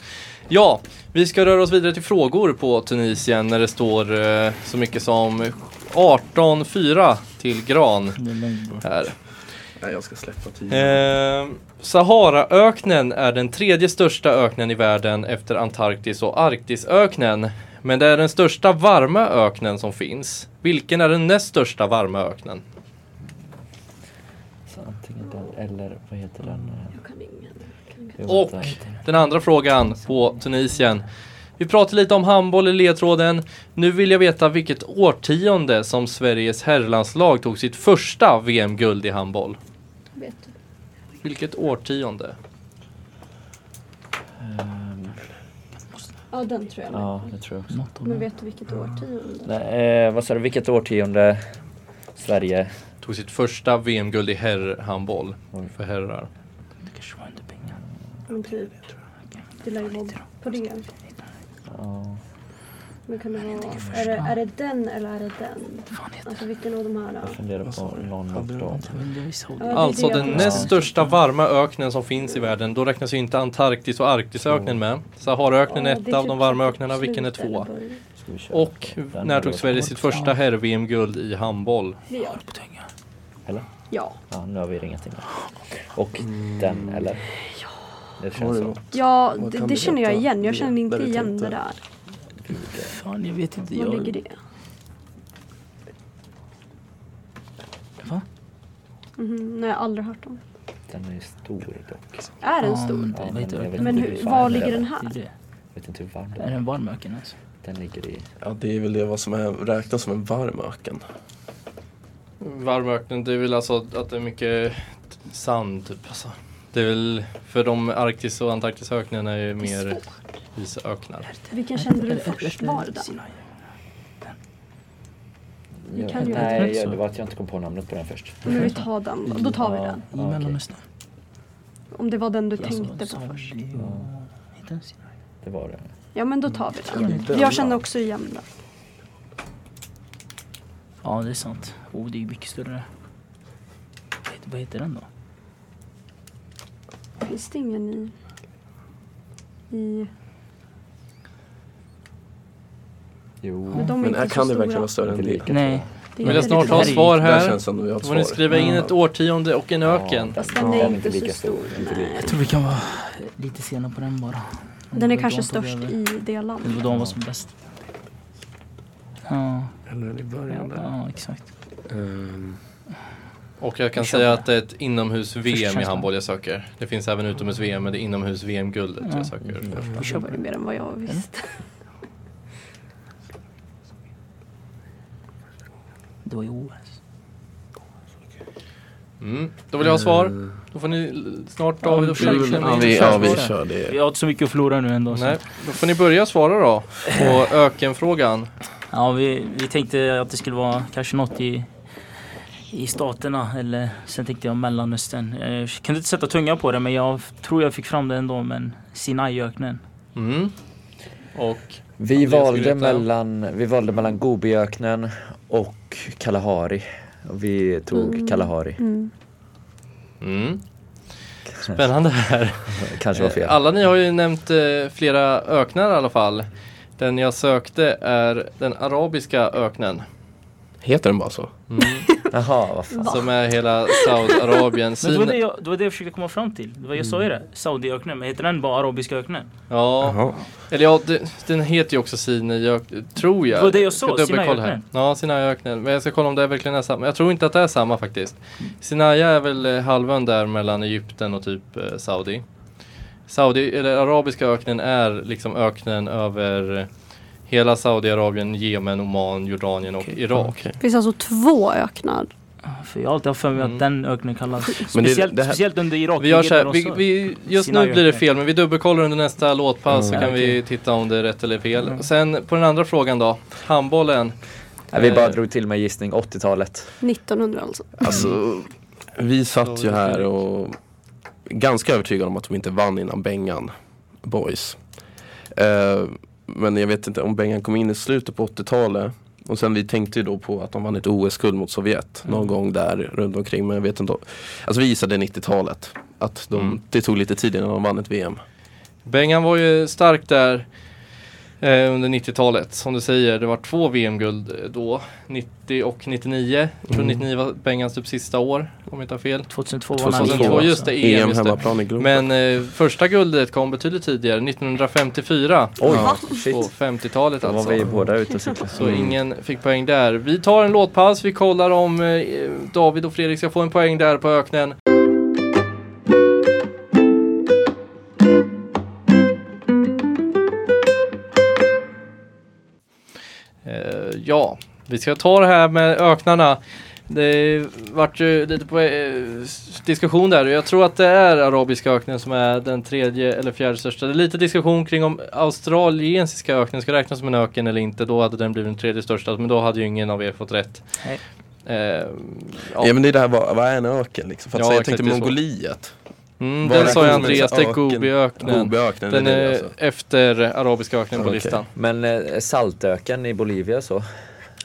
B: Ja, vi ska röra oss vidare till frågor på Tunisien när det står eh, så mycket som 18-4 till Gran
E: Det är lugnt.
B: här.
F: Nej, jag ska släppa tiden.
B: Eh, Saharaöknen är den tredje största öknen i världen efter Antarktis och Arktisöknen. Men det är den största varma öknen som finns. Vilken är den näst största varma öknen?
D: Så antingen den eller vad heter den?
C: Jag kan ingen.
B: Och den andra frågan på Tunisien. Vi pratade lite om handboll i ledtråden. Nu vill jag veta vilket årtionde som Sveriges herrlandslag tog sitt första VM-guld i handboll.
C: Vet du?
B: Vilket årtionde?
D: Ehm,
C: Ja, den tror jag.
D: Ja, det tror jag också.
E: Något om
C: Men
E: det.
C: vet du vilket årtionde?
D: Nej, eh, vad sa du, vilket årtionde Sverige?
B: Tog sitt första VM-guld i herrhandboll. För herrar.
E: Det kanske var inte pengar.
C: Men typ. Det lär ju vara på det.
D: Ja,
C: Men kan det vara... Är det, är det den eller är det den?
E: Fan heter
C: Alltså vilken av de här?
D: jag
C: Då?
D: funderar på någon av dem.
E: det? Men det är ju så.
C: Ja, det är
B: Alltså
C: det jag
B: den
C: tror.
B: näst största varma öknen som finns i världen. Då räknas ju inte Antarktis och Arktisöknen med. Saharaöknen är
C: Mm. Ja, det
B: ett
C: är
B: av
C: typ
B: de varma
C: typ
B: öknarna. Vilken är
C: slut eller
B: två?
C: början.
D: Ska vi köra
B: Och
D: på den
B: när
D: då?
B: tog Sverige sitt första herr-VM-guld i handboll?
C: Det är jag.
E: På tungan.
D: Eller?
C: Ja.
D: Ja, nu har vi ringat in den. Och den eller? Det
F: Har
D: känns
F: du
D: så.
F: något?
C: Ja,
F: Vad
C: det,
F: kan
C: det
F: det
C: känner jag
F: heta?
C: igen. Jag
F: Det
C: känner inte
F: där vi
C: igen
F: tänkte.
C: det där.
E: Fan, jag vet inte.
C: Var
E: Jag...
C: ligger det?
E: Va?
C: Mhm, nej, jag har aldrig hört om.
D: Den är ju stor dock.
C: Är den
E: Ja,
C: stor?
E: det vet jag
D: Men
E: inte.
D: hur-
C: Men hur, var ligger den
E: Det är
C: här?
E: det.
D: Jag vet inte hur varm den
E: Är det
D: är.
E: en varm öken alltså?
D: Den ligger i...
F: Ja, det är väl det vad som är, räknas som en varm öken.
B: Varm öknen, det är väl alltså att det är mycket sand typ alltså. Det är väl, för de Arktis och Antarktisöknen är ju mer isöknar.
C: Vilken kände du
E: Eller-
C: först?
E: eller-
C: Var det den?
E: Sinai.
C: Vi
D: Jag-
C: kan ju-
D: Nej,
E: Jag tror
D: jag,
E: så.
D: det var att jag inte kom på namnet på den först.
C: Men vi tar den. Då tar vi den.
E: I Mellanöstern.
C: Om det var den du
E: Jag sa-
C: tänkte på
E: sa-
C: först.
E: Heter den Sinai?
D: Det var det.
C: Ja, men då tar vi den. Jag känner också igen den.
E: Ja, det är sant. Oh, det är mycket större. Vad heter- Vad heter den då?
C: Finns det ingen i... i
D: Jo.
C: men de är
F: Men
C: inte
F: här
C: så
F: kan det
C: stora.
F: verkligen vara större än
D: Inte
F: det.
D: lika,
E: Nej.
D: tror
C: Det är
B: Vill jag
C: väldigt
B: snart ha
E: Herregud.
B: svar
F: Där
B: här?
F: känns det ändå vi har ett
B: Då får ni
F: svar.
B: skriva in ett årtionde och en
D: jag.
B: öken.
D: Ja,
C: Fast den är inte så stor,
D: Inte
C: nej.
D: lika.
E: Jag tror vi kan vara lite sena på den bara.
C: Den är
E: Då
C: kanske
E: tog
C: störst
E: över.
C: i det
E: Det var
C: landet.
E: då han var som bäst. Ja,
F: Eller i början där.
E: ja exakt.
F: Ehm,
B: Och jag kan
E: Vi kör
B: säga
E: på
B: att det är ett inomhus-VM i
E: känslan.
B: handboll jag söker. Det finns även utomhus-VM, men det är inomhus-VM-guldet jag söker.
C: Vi kör på det mer än vad jag visste.
E: Det var ju OS.
B: Mm. Då vill jag ha svar. Då får ni l- snart David och Fredrik klämma
F: Ja,
B: in.
F: vi, ja, vi kör
E: Vi
F: det.
E: har inte så mycket att förlora nu ändå. så-
B: Nej, då får ni börja svara då på ökenfrågan.
E: Ja, vi, vi tänkte att det skulle vara kanske något i, i staterna eller sen tänkte jag Mellanöstern. Eh, Jag kunde inte sätta tunga på det men jag tror jag fick fram det ändå men Sinaiöknen.
B: Mm. Och
D: Vi
B: Ja, det är
D: valde,
B: skryt, ja.
D: mellan, vi valde mellan Gobiöknen och Kalahari. Och vi tog Kalahari.
C: Mm.
B: Mm. Spännande här.
D: Kanske var fel.
B: Alla ni har ju nämnt eh, flera öknar i alla fall. Den jag sökte är den arabiska öknen
F: Heter den bara så?
D: Jaha, vad fan.
B: som är hela Saudiarabien.
E: Men det, var
B: Sin...
E: det, jag, det var det jag försökte komma fram till. Det var, jag sa ju det. Saudiöknen, men heter den bara Arabiska öknen?
B: Ja,
F: Jaha.
B: eller ja, det- den heter ju också Sinaiöknen, tror jag.
E: Det var det jag sa,
B: Ska dubbelkolla
E: Sinaiöknen.
B: här. Ja, Sinaiöknen. Men jag ska kolla om det verkligen är samma. Jag tror inte att det är samma faktiskt. Sinai är väl eh, halvön där mellan Egypten och typ eh, Saudi. Saudi, eller arabiska öknen är liksom öknen över eh, hela Saudiarabien, Jemen, Oman, Jordanien och
E: Okej.
B: Irak.
C: Det finns alltså två öknar.
E: För jag har alltid haft för mig
B: Mm.
E: att den öknen kallas.
F: Men det-
E: Speciellt,
F: det här-
E: speciellt under Irak.
B: Vi gör så här, vi, vi, just nu blir det
E: Sinaiöknen.
B: fel men vi dubbelkollar under nästa låtpass så
E: Mm.
B: kan vi titta om det är rätt eller fel. Sen på den andra frågan då, handbollen.
D: Nej, vi bara
B: Eh,
D: drog till med gissning 80-talet.
C: 1900 alltså.
F: Alltså, vi satt ju här och ganska övertygad om att de inte vann innan Bengan Boys. Eh, men jag vet inte om Bengan kom in i slutet på 80-talet. Och sen vi tänkte ju då på att de vann ett OS-guld mot Sovjet
B: Mm.
F: någon gång där runt omkring. Men jag vet inte. om- Alltså vi gissade 90-talet. Att de,
B: Mm.
F: det tog lite tid innan de vann ett
B: E
F: VM.
B: Bengan var ju stark där eh, under 90-talet. Som du säger, det var två VM-guld eh, då. 90 och 99. Jag
D: Mm.
B: tror 99 var Bengans typ sista år, om jag inte har fel.
E: 2002 var när vi
B: 2002,
E: vann,
B: just
E: så.
B: det, EM,
F: EM
B: just det.
F: E hemmaplan i Globen.
D: Mm.
B: Men eh, första guldet kom betydligt tidigare, 1954.
D: Oj,
B: Ja, på
D: shit.
B: 50-talet
D: Då var
B: alltså.
D: vi båda ute och cyklade.
B: Så ingen fick poäng där. Vi tar en låtpaus, vi kollar om eh, David och Fredrik ska få en poäng där på öknen. Eh, ja, vi ska ta det här med öknarna. Det vart ju lite på, eh, s- diskussion där och jag tror att det är arabiska öknen som är den tredje eller fjärde största. Det är lite diskussion kring om australiensiska öknen ska räknas som en öken eller inte. Då hade den blivit den tredje största men då hade ju ingen av er fått rätt.
E: Nej.
B: Eh,
F: Ja men det är det här, vad, vad är en öken liksom? För att
B: Ja,
F: säga, jag
B: exakt,
F: tänkte
B: det är så.
F: Mongoliet.
B: mm,
F: Vad
B: den sa ju
F: räknas som
B: Andreas, det
F: en
B: är
F: öken?
B: Gobiöknen.
F: Gobiöknen,
B: Den
F: det är det
B: är
F: alltså.
B: efter arabiska öknen på
F: Okej.
B: listan.
D: Men eh, saltöken i Bolivia så?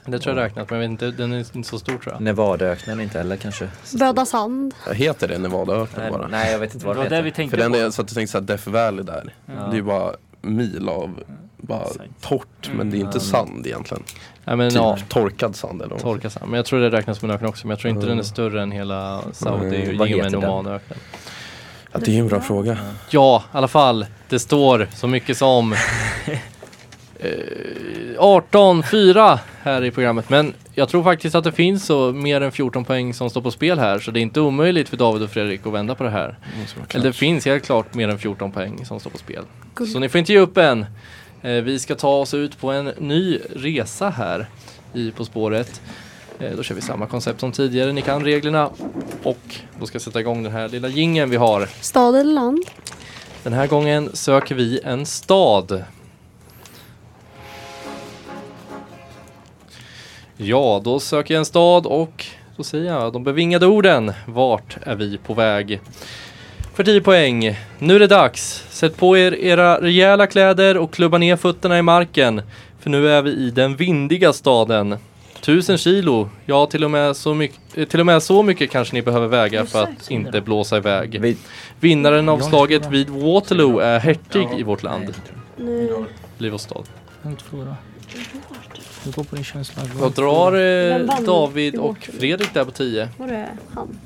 B: Det tror jag räknat men jag vet inte, den är inte så stor
F: Mm.
B: tror jag.
D: Nevadaöknen inte heller kanske? Så-
C: Böda sand.
F: Ja, Heter det Nevadaöknen
D: Nej,
F: bara?
D: nej, jag vet inte
E: Det
D: vad
E: var
D: det
E: det vi
D: heter.
E: tänkte
F: För den
E: på.
F: är, så att jag tänkte såhär Death Valley där. Det är ju bara mil av bara
E: Exakt.
F: torrt men det är ju inte sand egentligen.
B: Nej, men,
F: Typ
B: ja.
F: torkad sand eller något.
B: Torka sand. Men jag tror det räknas som en öken också. Men jag tror
F: Mm.
B: inte den är större än hela Saudi
D: Mm,
B: mm.
D: vad
B: och ger mig en
D: heter den?
B: nomanöken.
F: Ja, det är ju en bra fråga.
B: Ja, i alla fall. Det står så mycket som eh, 18-4 här i programmet. Men jag tror faktiskt att det finns så mer än 14 poäng som står på spel här. Så det är inte omöjligt för David och Fredrik att vända på det här. Eller det finns helt klart mer än 14 poäng som står på spel. Så ni får inte ge upp än. Eh, vi ska ta oss ut på en ny resa här i På spåret. Eh, då kör vi samma koncept som tidigare. Ni kan reglerna. Och då ska jag sätta igång den här lilla jingeln vi har.
C: Stad eller land?
B: Den här gången söker vi en stad. Ja, då söker jag en stad och då säger jag de bevingade orden. Vart är vi på väg? För 10 poäng. Nu är det dags. Sätt på er era rejäla kläder och klubba ner fötterna i marken. För nu är vi i den vindiga staden. Tusen kilo, ja till och med så mycket, till och med så mycket kanske ni behöver väga för att inte blåsa iväg.
D: Vi,
B: Vinnaren av slaget vid Waterloo är hertig i vårt land.
C: Nu.
B: Liv och stad.
E: Punkt förlora. Du går på din känsla.
B: Då drar
C: Vem
B: eh,
C: vann
B: David
C: i
B: och
C: Waterloo?
B: Fredrik där på 10.
C: Var det han?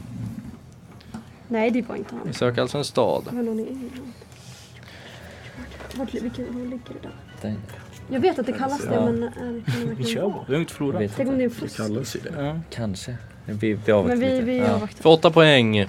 C: Nej, det var inte han.
B: Vi söker alltså en stad.
C: Det var någon i England. Vart, vilken, var ligger det där?
D: den,
C: Jag vet att det kallas det, men är det kan det
E: Vi kör
C: verkligen
E: bara. Punkt
D: jag
E: förlora.
D: vet
C: Tänk om
D: inte.
C: det är en fusk?
F: kallas ju det.
E: Ja.
D: Kanske. Vi, vi avvaktar
C: Men vi,
D: lite.
C: vi
D: Ja.
C: avvaktar.
B: För 8 poäng.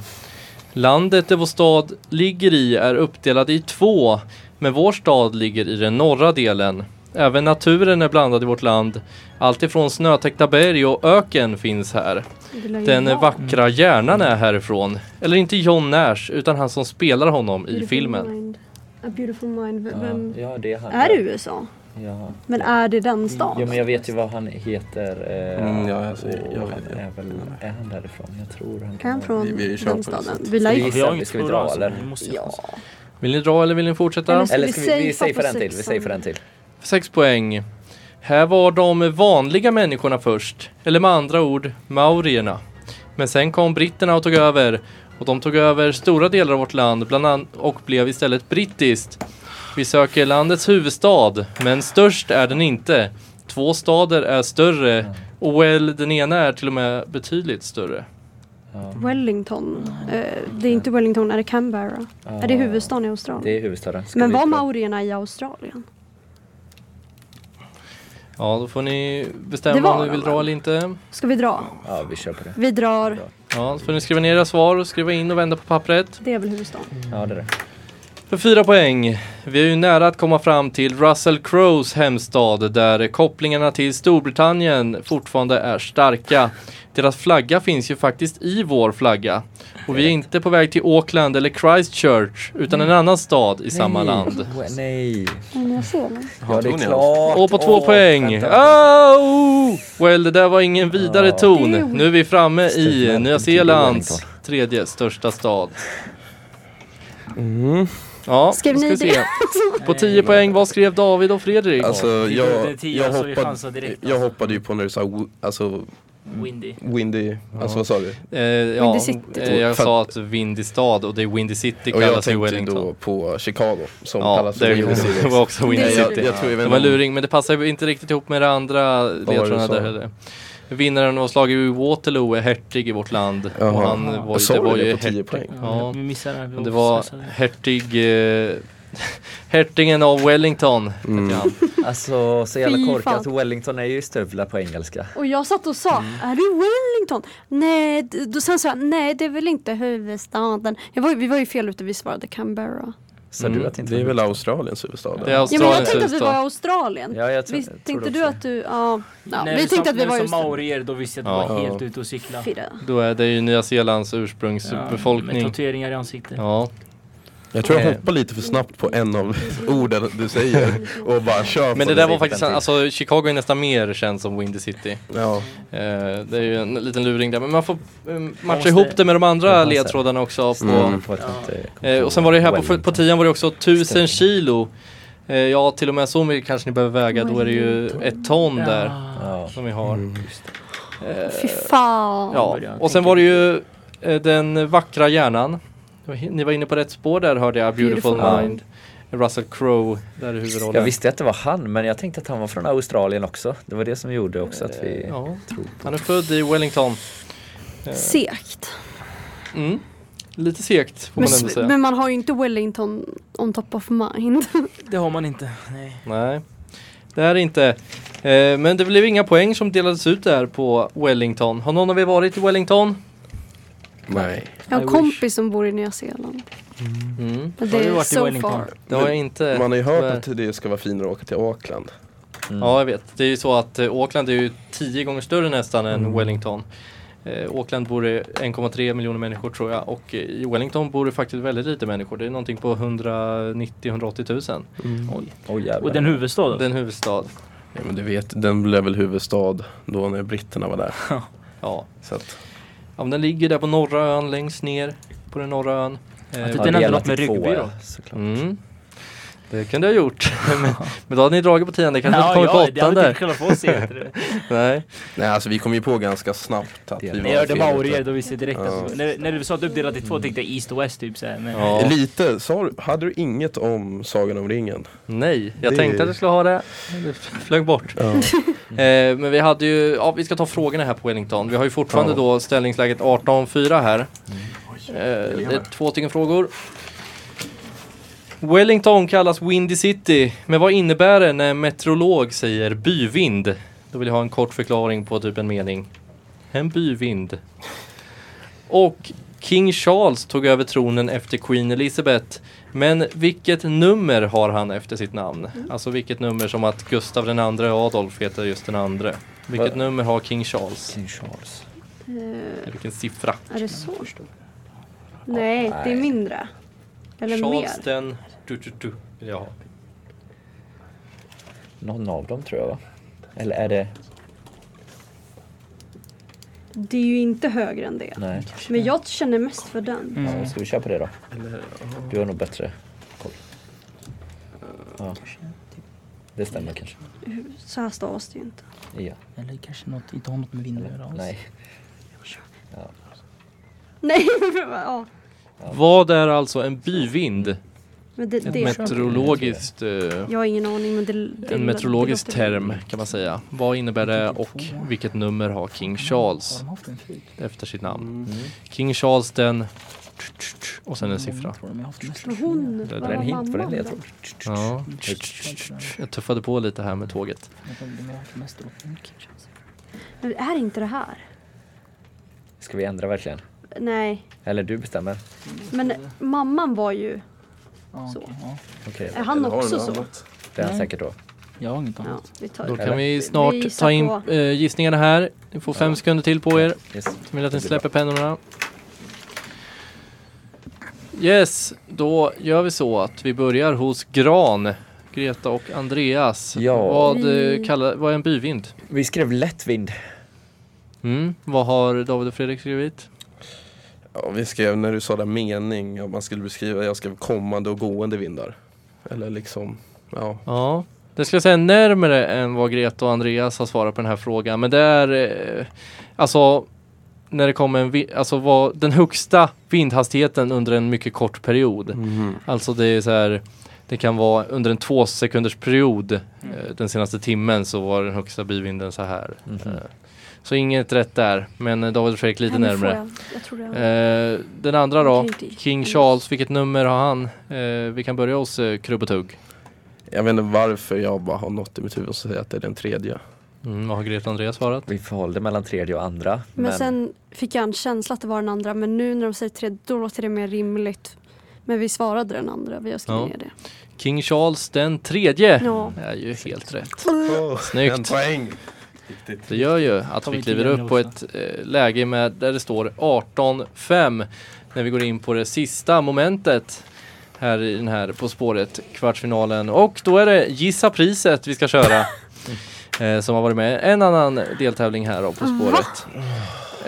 B: Landet där vår stad ligger i är uppdelad i två, men vår stad ligger i den norra delen. Även naturen är blandad i vårt land. Allt ifrån snötäckta berg och öken finns här.
C: Det lär ju
B: Den
C: vara.
B: vackra hjärnan är härifrån. Eller inte John Nash, utan han som spelar honom i
C: Beautiful
B: filmen.
C: Mind. A beautiful mind. V- Vem?
D: Ja, ja, det är han.
C: Är det USA?
D: Ja.
C: Men är det den stan?
D: Jo men jag vet ju vad han heter. Eh,
F: Mm, ja, alltså, jag
D: och
F: vet-
D: han
F: jag-
D: är väl, är han därifrån? Jag tror han
C: Är han
D: vara-
C: från
F: Vi- vi kör
C: den
F: på det
C: staden?
F: sättet.
C: Vi lär
D: Ska
C: ju...
D: vi-
E: Vi har inget
D: Ska vi
E: förlora
D: dra,
E: alltså.
D: eller?
E: Vi måste
C: Ja.
B: Vill ni dra eller vill ni fortsätta?
C: Eller- Ska
D: Eller
C: vi
D: ska vi,
C: safea
D: vi safear
C: på
D: den till, vi
C: sexan?
D: safear den till.
B: Sex poäng. Här var de vanliga människorna först, eller med andra ord maurierna. Men sen kom britterna och tog över och de tog över stora delar av vårt land bland an- och blev istället brittiskt. Vi söker landets huvudstad, men störst är den inte. Två stader är
C: Mm.
B: större och well, den ena är till och med betydligt större.
D: Ja.
C: Wellington. Eh, det är inte Wellington, är det Canberra?
D: Ja.
C: Är det huvudstaden i Australien?
D: Det är huvudstaden. Ska
C: men
D: vi
C: var
D: dra-
C: maorierna i Australien?
B: Ja, då får ni
C: Det
B: bestämma
C: var
B: om ni vill
C: de, va?
B: dra eller inte.
C: Ska vi dra?
D: Ja vi kör på det.
C: Vi drar.
B: Ja, så får ni skriva ner era svar och skriva in och vända på pappret.
C: Det är väl huvudstaden?
D: Ja det är det.
B: För fyra poäng. Vi är ju nära att komma fram till Russell Crowes hemstad där kopplingarna till Storbritannien fortfarande är starka. Deras flagga finns ju faktiskt i vår flagga. Och vi är inte på väg till Auckland eller Christchurch utan en annan stad i samma
D: Mm. Nej.
B: land.
D: Oh, Nej.
C: Men jag ser det.
D: Ja det
F: tog
D: är
F: ni
D: klart.
B: Och på två
D: Åh,
B: poäng. Ah!
D: vänta.
B: Oh! Well, det där var ingen vidare
D: Ja.
B: ton.
C: Det är ju-
B: Nu är vi framme
D: Stefan
B: i
D: Martin
B: Nya
D: till
B: Zeelands
D: Wellington.
B: tredje största stad.
F: Mm.
B: Ja,
C: Skrev
B: då ska
C: ni
B: vi se. På 10 poäng, vad skrev David och Fredrik?
F: Alltså
E: det är dubbelt
F: jag,
E: en tia,
F: jag,
E: så vi chansar
F: hoppade,
E: direkt,
F: jag
E: alltså.
F: hoppade ju på när du sa wo- alltså,
E: Windy.
F: windy, alltså vad sa du?
B: Eh, ja,
C: Windy City.
B: eh, jag
F: För-
B: sa att Windy stad och det är Windy City
F: Och jag
B: kallas i
F: tänkte
B: Wellington.
F: då på Chicago som
B: Ja,
F: kallas för
B: det
F: windy city.
B: var också Windy
F: Nej,
C: Windy
B: City.
F: jag, jag tror jag
B: Det
F: vet
B: var
F: inte.
B: luring, men det passar ju inte riktigt ihop med det andra ledtrådarna
F: sa?
B: där heller. Vinnaren av slaget i Waterloo är hertig i vårt land. Och
F: Jaha.
B: han var,
F: Jag sa
B: det var
F: du
B: ju
F: det på 10
B: hertig.
F: poäng?
B: Ja,
E: Vi missade det. här. Vi
B: men det var
E: stressade.
B: hertig... Eh, hertigen av Wellington.
F: Mm.
B: Ja.
D: Alltså så jävla
C: Fy
D: korkat.
C: fan.
D: Wellington är ju stövlar på engelska.
C: Och jag satt och sa, är det Wellington? Nej, d- då sen sa jag, nej det är väl inte huvudstaden. Jag var, ju- vi var ju fel ute, vi svarade Canberra.
D: Sa
B: Mm,
D: du att inte
F: Det är väl Australiens huvudstad?
B: Det är
C: Ja men jag
B: Australiens
C: tänkte att vi var i
B: huvudstad.
C: Australien.
D: Ja, jag tror-
C: Visst,
D: jag tror
C: tänkte
D: det
C: du
D: också.
C: att du, ja. ja
E: När
C: vi
E: sa-
C: tänkte att vi var i
E: När du sa
C: Australien.
E: maorier då visste jag
B: Ja.
E: att du var helt ute och cykla.
C: Fyra.
B: Då är det ju Nya Zeelands
E: Ja,
B: ursprungsbefolkning.
E: Med tatueringar i ansiktet.
B: Ja,
F: Jag tror jag
D: Eh.
F: hoppar lite för snabbt på en av orden du säger och bara kör på
B: men det
F: det.
B: där var faktiskt, alltså Chicago är nästan mer känt som Windy City.
F: Ja.
B: Eh, det är ju en liten luring där, men man får eh, matcha
E: måste-
B: ihop det med de andra
D: Jag måste-
B: ledtrådarna också. På,
F: Mm.
D: På att jag inte kom
B: Eh,
D: på
B: och sen var det ju här på,
D: Wellington.
B: på tian var det också 1000 kilo. Eh, ja, till och med så mycket kanske ni behöver väga. Då är det ju ett ton där
D: Ja. Mm.
B: som vi har. Eh,
C: Fy fan.
B: Ja, och sen var det ju eh, den vackra hjärnan. Ni var inne på rätt spår där hörde jag, Beautiful,
C: Beautiful
B: Mind. Russell Crowe där i huvudrollen.
D: Jag visste att det var han, men jag tänkte att han var från Australien också. Det var det som gjorde också att vi...
B: Eh, Ja, han är född i Wellington. Eh,
C: Segt.
B: Mm. Lite segt får
C: Men,
B: man ändå
C: s-
B: säga.
C: men man har ju inte Wellington on top of mind.
E: Det har man inte. Nej.
B: Nej, det här är inte. Eh, men det blev inga poäng som delades ut där på Wellington. Har någon av er varit i Wellington?
F: Nej.
C: Jag har
E: I
C: en
E: wish.
C: kompis som bor i Nya Zeeland.
B: Mm.
C: Men
E: Har
C: det
E: du
C: är
E: varit i
C: so
E: Wellington?
C: far.
B: Det har jag inte.
F: Man har ju
B: tyvärr.
F: hört att Mm. det ska vara finare att åka till Auckland.
D: Mm.
B: Ja, jag vet. Det är ju så att eh, Auckland är ju tio gånger större nästan
F: Mm.
B: än Wellington. Eh, Auckland bor det 1,3 miljoner människor tror jag och eh, i Wellington bor det faktiskt väldigt lite människor. Det är någonting på 190-180 000.
F: Mm.
E: Oj.
D: Åh jävlar.
E: Och den huvudstad då?
B: Det är en huvudstad.
F: Ja, men du vet, den blev väl huvudstad då när britterna var där.
B: Ja.
F: Så att,
B: ja, men den ligger där på norra ön längst ner på den norra ön.
F: typ
B: Eh,
E: Den hade något med
D: delat i två,
E: rugby då?
D: ja, typ såklart.
B: Mm. Det kunde jag ha gjort. men, men då hade ni dragit på tionde, det kanske
E: Ja,
B: inte kommit
E: ja,
B: på åttan
E: Det hade
B: där.
E: inte kunnat få oss heter det.
B: Nej.
F: nej, alltså vi kom ju på ganska snabbt att vi
D: När
E: När jag hörde
F: fel ute.
E: maorier då visste jag direkt
F: Ja.
E: att när, när du sa att du uppdelade i två tänkte jag east och west typ såhär. Men
B: Ja.
F: Lite, sa du, hade du inget om Sagan om ringen?
B: Nej, jag
F: Det-
B: tänkte att jag skulle ha det. men Det flög bort. Eh, men vi hade ju, ja vi ska ta frågorna här på Wellington. Vi har ju fortfarande
F: Ja.
B: då ställningsläget 18-4 här. Eh, det är två stycken frågor. Wellington kallas Windy City, men vad innebär det när en meteorolog säger byvind? Då vill jag ha en kort förklaring på typ en mening. En byvind. Och King Charles tog över tronen efter Queen Elizabeth. Men vilket nummer har han efter sitt namn?
C: Mm.
B: Alltså vilket nummer som att Gustav den andre Adolf heter just den andre. Vilket
D: Va?
B: nummer har King Charles?
D: King Charles.
B: Vilken siffra?
C: Är det så? Nej, det är mindre. Eller
B: Charles
C: mer.
B: den... Du, du, du. vill jag ha.
D: Någon av dem tror jag va? Eller är det...
C: Det är ju inte högre än det.
D: Nej.
C: Men jag känner mest för den.
B: Mm.
D: Ja, ska vi köra på det då? Du har nog bättre koll. Ja. Det stämmer kanske.
C: Så här stavas det ju inte.
D: Ja.
E: Eller kanske något, inte har något med vinden att göra alls.
D: Nej.
C: Nej, men vad- ja.
B: Vad är alltså en byvind?
C: Men det,
B: Ett
C: det
B: meteorologiskt... eh,
C: Jag har ingen aning men det, det
B: En meteorologisk
C: det låter-
B: term kan man säga. Vad innebär det och vilket nummer har King
E: Har
B: Charles
E: de haft en förut?
B: efter sitt
C: Mm.
B: namn? King Charles den... Och sen en
C: Mm.
B: siffra.
E: Tror de jag har haft en nästa.
C: Men Hon,
B: Det är
D: Det
C: vad
D: är
C: var
D: en hint på
C: mamman
D: den jag
C: då?
D: tror.
B: Ja. Jag tuffade på lite här med tåget.
E: Vänta, de har haft en nästa. Okej.
C: Men det är inte det här?
D: Ska vi ändra verkligen?
C: Nej,
D: Eller du bestämmer?
C: men mamman var ju...
E: Ja,
C: Så.
E: okej, ja.
D: Okej,
C: Är han
F: Eller har du
C: också
F: något
C: så?
F: annat?
D: det är han
E: Nej.
D: säkert då.
E: Jag har inget
C: Ja,
E: annat.
C: vi tar
B: Då
C: det.
B: kan vi
C: Vi
B: snart
C: gissar
B: ta in
C: på-
B: eh, gissningarna här. Ni får fem sekunder till på er.
D: Yes.
B: Jag vill att ni släpper pennorna. Yes, då gör vi så att vi börjar hos Gran. Greta och Andreas.
D: Ja.
B: Vad, eh,
C: Vi-
B: kallar, vad är en byvind?
D: Vi skrev lättvind.
B: Mm. Vad har David och Fredrik skrivit?
F: Ja, vi skrev när du sa den mening, om man skulle beskriva, jag skrev kommande och gående vindar. Eller liksom, ja.
B: Ja, det ska jag säga är närmare än vad Greta och Andreas har svarat på den här frågan. Men det är, eh, alltså, när det kommer en, vi- alltså vad, den högsta vindhastigheten under en mycket kort period. Alltså det är så här, det kan vara under en två sekunders period eh, den senaste timmen så var den högsta byvinden så här.
D: Mm-hmm.
B: Eh, så inget rätt där, men eh, David och Fredrik lite
C: Nej, nu får
B: närmre.
C: Jag, jag tror det.
B: Eh, den andra då,
C: Jag tänkte-
B: King Charles, vilket nummer har han? Eh, vi kan börja hos eh, Krubb och Tugg.
F: Jag vet inte varför jag bara har något i mitt huvud som säger att det är den tredje.
B: Mm, vad har Greta och Andreas svarat?
D: Vi förhållde mellan tredje och andra.
C: Men, sen fick jag en känsla att det var den andra men nu när de säger tre då låter det mer rimligt. Men vi svarade den andra, vi har skrivit
B: Ja. Eh,
C: ner det.
B: King Charles den tredje
C: Ja.
B: är ju helt rätt. Oh,
F: En
B: Snyggt.
F: poäng!
B: Det gör ju att
E: Tar
B: vi
E: vi
B: kliver
E: tio
B: upp på
E: nu
B: ett eh, läge med, där det står 18-5 när vi går in på det sista momentet här i den här På spåret kvartsfinalen. Och då är det Gissa priset vi ska köra. eh, som har varit med i en annan deltävling här då, På spåret.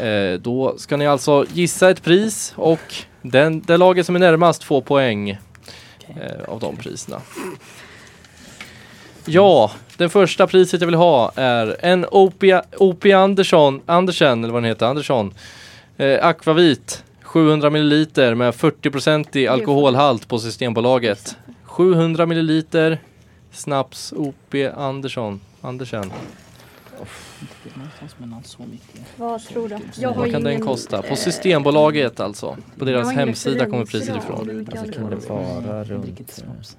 B: Eh, då ska ni alltså gissa ett pris och den, det laget som är närmast får poäng eh, av de priserna. Ja, det första priset jag vill ha är en Opia, Opie Andersson, Andersen, eller vad den heter, Andersson. Eh, Akvavit, 700 milliliter med 40 i alkoholhalt på Systembolaget. 700 milliliter snaps Opie Andersson. Andersen.
E: Någonstans mellan så mycket.
C: Vad tror du? att- Jag har
B: Vad kan den
C: ingen- eh,
B: kosta? På Systembolaget alltså. På
C: jag har
B: deras
C: ingen
B: hemsida kommer
C: referens
B: priset
C: idag.
B: ifrån.
C: Hur mycket
D: Alltså, kan
C: alkohol-
D: det vara
E: Jag
D: runt, eh.
E: dricker inte snaps.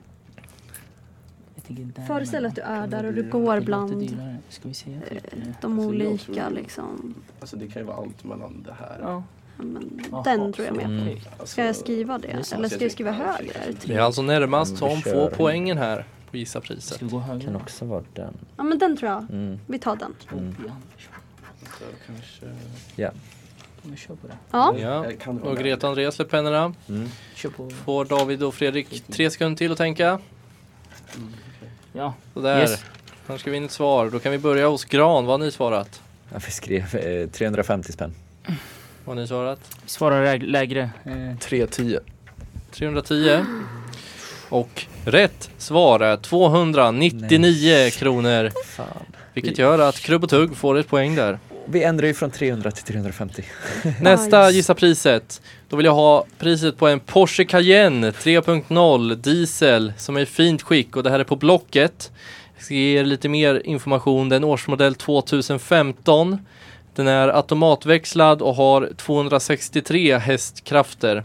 E: Jag tänker där
C: Föreställ
E: emellan.
C: att du är där och
F: Det
C: du
F: låter
C: går
E: Det låter
C: bland
E: dyrare. Ska vi säga typ... eh,
C: de
F: Alltså, jag
C: olika
F: tror-
C: liksom.
F: Alltså det kan ju vara allt mellan det här.
E: Ja.
C: Ja, Men
E: Jaha,
C: den tror jag mer
D: mm.
E: okej.
C: på. Ska jag skriva det? Eller ska jag skriva högre? Är det
B: Det
C: tre?
B: är alltså närmast
D: Om vi
B: som
D: kör.
B: får poängen här på Gissa priset.
E: Ska vi gå högre?
D: Kan också vara den.
C: Ja men den tror jag.
D: Mm.
C: Vi tar den.
F: Alltså,
D: Ja.
E: Men kör på det.
C: Ja.
B: Ja. Och Greta och Andreas släpper pennorna.
E: Kör på...
B: Får David och Fredrik tre sekunder till att tänka.
E: Ja.
B: Sådär.
E: Yes.
B: Annars ska vi in ett svar. Då kan vi börja hos Gran. Vad har ni svarat?
D: Ja, vi skrev eh, 350 spänn.
B: Vad har ni svarat?
E: Vi svarar läg- lägre. Eh,
F: 310.
B: 310. Och rätt svar är 299 kronor.
D: Fan.
B: Vilket gör att Krubb och Tugg får ett poäng där.
D: Vi ändrar ju från 300 till 350.
B: Nästa
C: Nice.
B: gissa priset. Då vill jag ha priset på en Porsche Cayenne 3.0 diesel som är i fint skick och det här är på Blocket. Jag ska ge er lite mer information. Den är årsmodell 2015. Den är automatväxlad och har 263 hästkrafter.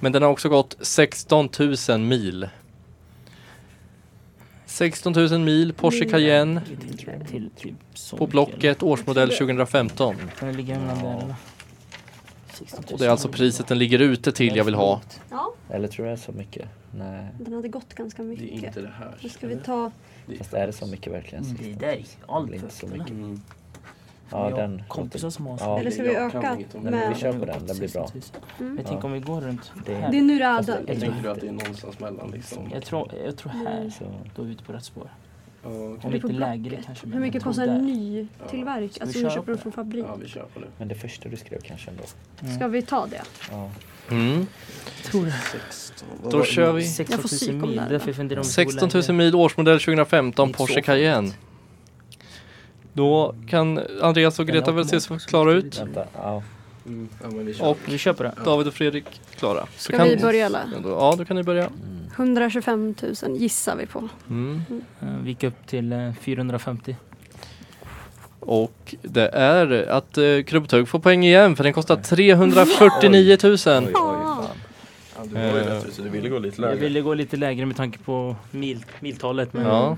B: Men den har också gått 16 000 mil. 16 000 mil Porsche Cayenne
E: till, till, typ så
B: på
E: mycket,
B: Blocket årsmodell 2015.
E: eller? Får jag ligga mellan där eller? 16 000.
B: Och det är alltså priset den ligger ute till jag vill ha.
C: Ja,
D: Eller tror du det är så mycket? Nej.
C: den hade gått ganska mycket.
F: det här.
C: Nu ska vi ta
D: Fast är det så mycket verkligen?
E: Mm, Det är dig. Allt
D: Inte så
E: eller?
D: mycket.
F: Mm.
D: Ja,
E: Vi har
D: den.
E: Kompisar som har
D: Ja.
E: sånt.
C: Eller ska vi
F: Jag kan
C: öka
F: inget om det.
D: Nej, men vi
C: med...
D: kör på den, den blir bra.
E: 16 000.
C: Mm.
E: Men tänk om vi går runt
D: Det är-
E: här.
C: Det är nu det
D: Alltså,
C: är död.
E: Jag
F: Tänker du att det är någonstans mellan liksom?
E: Jag tror, jag tror här
D: Så,
E: då är vi ute på rätt spår.
F: Ja, okej.
E: Om
C: Det är på
E: inte lägre
C: Blocket.
E: kanske. men
C: Hur mycket
E: jag tror
C: kostar en
E: där.
C: ny tillverk?
E: Ska
C: Alltså
E: vi
C: hon
E: köra
C: köper den
E: på
C: från fabrik.
F: ja, vi kör på det.
D: men det första du skrev kanske ändå.
C: Ska vi ta det?
D: Ja.
B: Mm.
E: Mm. Tror det.
F: 16. Vad
B: Då
F: var-
B: kör vi.
E: 16
C: får psyk
E: 000
C: om
E: mil.
C: det här.
E: Därför funderar jag om vi ska gå
B: 16 000
E: lägre.
B: mil årsmodell 2015
E: Inte så
B: Porsche
E: farligt.
B: Cayenne. Då kan Andreas och
E: Den
B: Greta
E: har
B: väl se
E: automat
B: så
E: också,
B: klara ut.
E: samtidigt.
D: Vänta, ja.
F: Mm, ja, men vi kör.
B: Och
E: Vi kör på det.
B: David och Fredrik klara. Så
C: Ska vi börja eller?
B: Ja, då kan ni börja.
D: Mm.
C: 125 000 gissar vi på.
B: Mm.
E: Eh, Vi gick upp till eh, 450.
B: Och det är att eh, Krubbtugg får poäng igen för den kostar 349 000.
C: Ah,
F: Ja, du var ju
B: Eh.
F: rätt ute, du ville gå lite
E: Jag
F: lägre.
E: ville gå lite lägre med tanke på mil, miltalet. Men
B: Ja,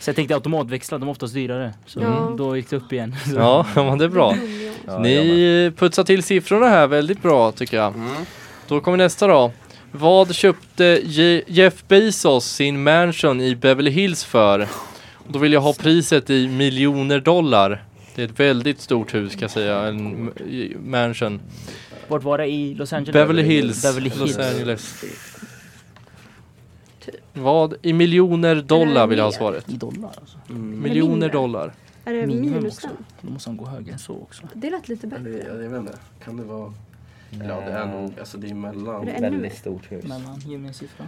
E: Så jag tänkte automatväxlar, de är oftast dyrare. Så
C: Ja.
E: då gick det upp igen. Så.
B: ja men det är bra.
D: ja jag
B: Ni putsar till siffrorna här väldigt bra tycker jag.
F: Mm.
B: Då kommer nästa då. Vad köpte Je- Jeff Bezos sin mansion i Beverly Hills för? Och då vill jag ha priset i miljoner dollar. Det är ett väldigt stort hus ska jag säga, en m- i- mansion.
E: Vart var det i Los Angeles?
B: Beverly Hills,
E: Beverly
B: Los
E: Hills.
B: Angeles. Vad i miljoner dollar vill jag ha
C: mer?
B: svaret.
E: I dollar alltså.
F: Mm.
B: Miljoner
C: mindre.
B: dollar.
C: Är det
E: Minimum
C: minus
E: också.
C: den?
E: Då måste han gå högre än så också.
C: Det lät lite
F: Eller,
C: bättre.
F: jag, jag vet inte, kan det vara... Ja, det är nog, alltså det är mellan.
C: Är det ännu mer?
D: Väldigt stort hus.
E: Mellan gymnasiefra.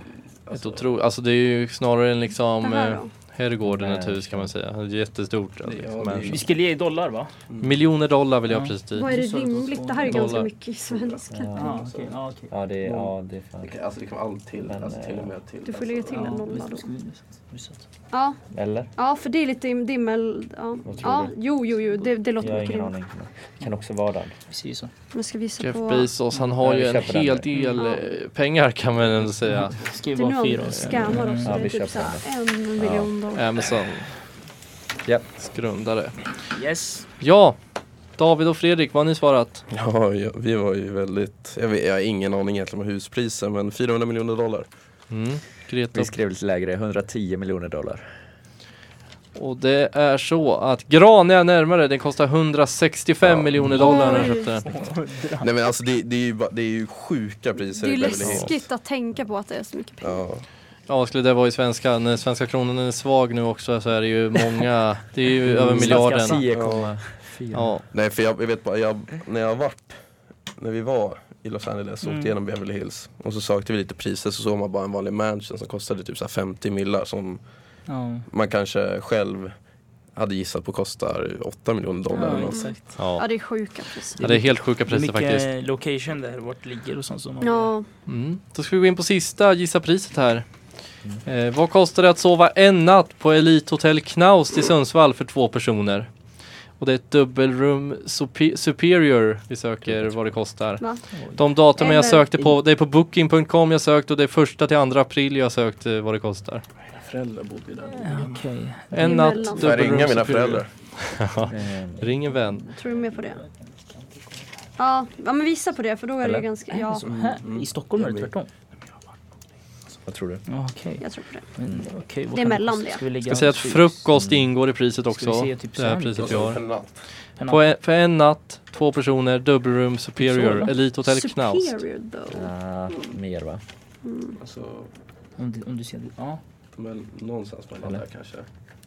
B: Ett otro, alltså det är ju snarare en liksom
C: Det här
B: eh,
C: då?
B: herrgården ett
D: Nej.
B: hus kan man säga. Det är jättestort. Alltså,
F: Ja,
D: liksom
F: det är
B: men,
F: ju-
E: Vi skulle ge i dollar va?
B: miljoner dollar vill jag
E: Ja.
B: ha precis dit.
C: Vad är det
E: Så-
C: rimligt? Det här är
B: Dollar.
C: ganska mycket i svenska.
E: Ja, ah, okej. ja, okej.
D: Ja, det är, ja, det är fan.
F: Det- Alltså det kan vara allt till,
D: Men,
F: alltså till och
D: eh,
F: med till.
C: Du får lägga till en
E: Ja,
C: nolla
E: visst,
C: då.
E: visst, visst.
C: Ja,
D: Eller?
C: ja för det är lite dimmel... Ja,
D: Vad tror
C: ja
D: du?
C: jo, jo, jo, det, det
D: Jag
C: låter
D: har
C: mycket
D: ingen
C: rimligt.
D: aning. Det kan också vara den.
E: Vi säger så.
C: Men ska visa
B: Jeff
C: på...
B: Bezos, han har
D: Ja, vi
B: ju en
D: köper den.
B: hel del
C: Ja. Mm.
B: eh, pengar kan man ändå säga.
E: Skriv
C: Det är
E: bara
C: nu
E: fyra.
C: han scammar också.
D: Ja,
C: det
D: vi
C: är typ
D: köper
C: såhär en miljon dollar.
B: Amazon
D: Ja.
B: grundare.
E: Yes.
B: Ja, David och Fredrik, vad har ni svarat?
F: Ja, ja, vi var ju väldigt, jag, vet, jag har ingen aning egentligen om huspriser men 400 miljoner dollar.
B: Mm. Greta.
D: Vi skrev lite lägre, 110 miljoner dollar.
B: Och det är så att gran är närmare, den kostar 165 miljoner dollar eh, när jag
C: Oj.
B: köpte den.
F: Nej men alltså det, det, är, ju, ba- det är ju sjuka priser
C: Det är ju
F: i Beverly Hills.
C: läskigt att tänka på att det är så mycket pengar.
F: Ja.
B: Ja, vad skulle det vara i svenska? När svenska kronan är svag nu också så är det ju många, det är ju över
E: Mm.
B: miljarden.
E: Statskassan.
D: 10,4.
B: Ja,
F: Nej för jag, jag vet bara, jag, när jag vart, när vi var i Los Angeles och
E: Mm.
F: åkte igenom Beverly Hills och så sökte vi lite priser så såg man bara en vanlig mansion som kostade typ så här 50 millar som
E: Ja,
F: man kanske själv hade gissat på kostar 8 miljoner dollar eller
E: ja
F: något.
E: exakt.
B: ja.
C: Ja, det är sjuka priser.
B: ja det är helt sjuka
E: Det är
B: priser
E: mycket
B: faktiskt.
E: location där, vart det ligger och sånt som man
C: Ja,
B: Mm. Då ska vi gå in på sista gissa priset här.
E: Mm.
B: Eh, vad kostar det att sova en natt på Elite Hotel Knaust i Sundsvall för två personer? Och det är ett dubbelrum supe- superior vi söker vad det kostar.
C: va?
B: De datumen jag
C: Eller-
B: sökte på, det är på booking.com jag sökt och det är första till andra april jag sökt eh, vad det kostar.
F: Föräldrar bodde ju där.
E: Ja, Okej.
B: En
C: Emellan.
B: natt, dubbelrum
F: Får jag ringa mina
B: superior.
F: föräldrar?
D: Ehm,
B: Ring en vän.
C: Jag tror du är med på det? Ja, ja men visa på det för då är det
D: Eller?
C: ju ganska... Ja,
E: Så här, I Stockholm är det tvärtom.
D: Vad tror du?
E: Okej.
C: jag tror på det.
E: Men, okej, vad
C: Det är
E: kan
C: mellan
E: kosta?
C: det.
E: Ska vi lägga
B: Jag säga att frukost ingår i priset
E: Mm. Ska vi
B: också.
E: se typ
B: Det här
E: sen?
B: priset vi
F: Ja,
B: har.
F: en natt.
E: penna?
B: På en, för en natt, två personer, dubbelrum superior,
E: Sova.
B: Elite Hotel Knaust.
C: Superior though. Mm.
D: Ah, mer va?
F: Alltså,
E: Om du, om du ser det. Ja.
F: men någonstans mellan där kanske.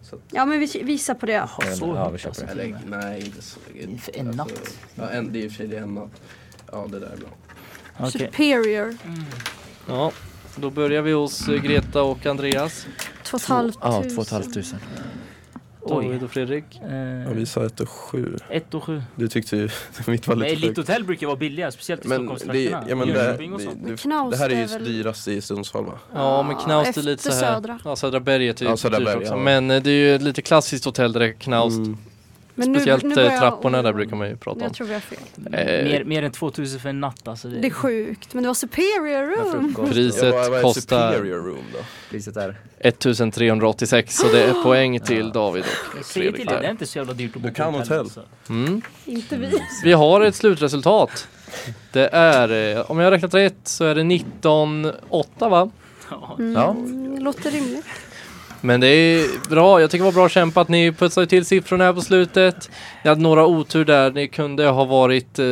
F: Så att,
C: Ja men vi- visa på det.
E: Jaha, så
D: Ja, vi
E: högt
D: köper
E: alltså.
D: det.
F: eller nej, inte så.
E: För en natt?
F: Ja, en, det är i och för sig det är en natt. Ja, det där är bra.
E: Okej.
C: Superior.
B: Ja, då börjar vi hos eh, Greta och Andreas.
C: Två och ett halvt
D: Ja,
C: tusen.
D: två och ett halvt tusen.
B: David
E: Oj.
B: och Fredrik.
F: Ja,
E: Eh,
F: vi sa ett och sju.
E: ett och sju.
F: Du tyckte ju mitt var
E: Men
F: lite
E: Elite
F: sjukt.
E: Hotel brukar vara billiga, speciellt i
F: Men det,
E: Stockholmstrakterna.
F: ja, men det, det,
E: Jönköping och sånt.
F: det, det
C: Knaust är
F: här är ju
C: väl-
F: dyrast i Sundsvall va?
B: Ja, men Knaust är
C: efter
B: lite så här.
C: Södra.
B: Ja, Södra Berg är typ
F: Ja, Södra
B: dyrt
F: Berg,
B: också.
F: ja. Mm.
B: Men eh, det är ju ett lite klassiskt hotell där det är Knaust.
C: Men nu-
B: Speciellt
C: nu
B: eh,
C: börjar jag
B: trapporna där
C: oroa
B: brukar
C: mig.
B: man ju prata om.
C: Jag tror vi har fel.
F: Eh,
E: Mer, mer än 2000 för en natt alltså.
C: Det är sjukt. Men det var superior room.
B: Priset
F: Ja, vad- vad är
B: kostar-
F: Superior room då?
D: Priset är?
B: 1386 så det
C: Ah!
B: är poäng till David och
E: Jag säger till
B: Fredrik
E: dig, det är
B: där.
E: inte så jävla dyrt att bo
F: Du kan
E: på
F: hotell.
E: alltså.
B: Mm.
C: Inte vi.
B: Vi har ett slutresultat. Det är, eh, om jag har räknat rätt, så är det 19-8 va?
E: Ja.
D: Ja.
C: Mm, Låter rimligt.
B: Men det är bra, jag tycker det var bra kämpat. Ni putsade till siffrorna här på slutet. Ni hade några otur där. Det kunde ha varit eh,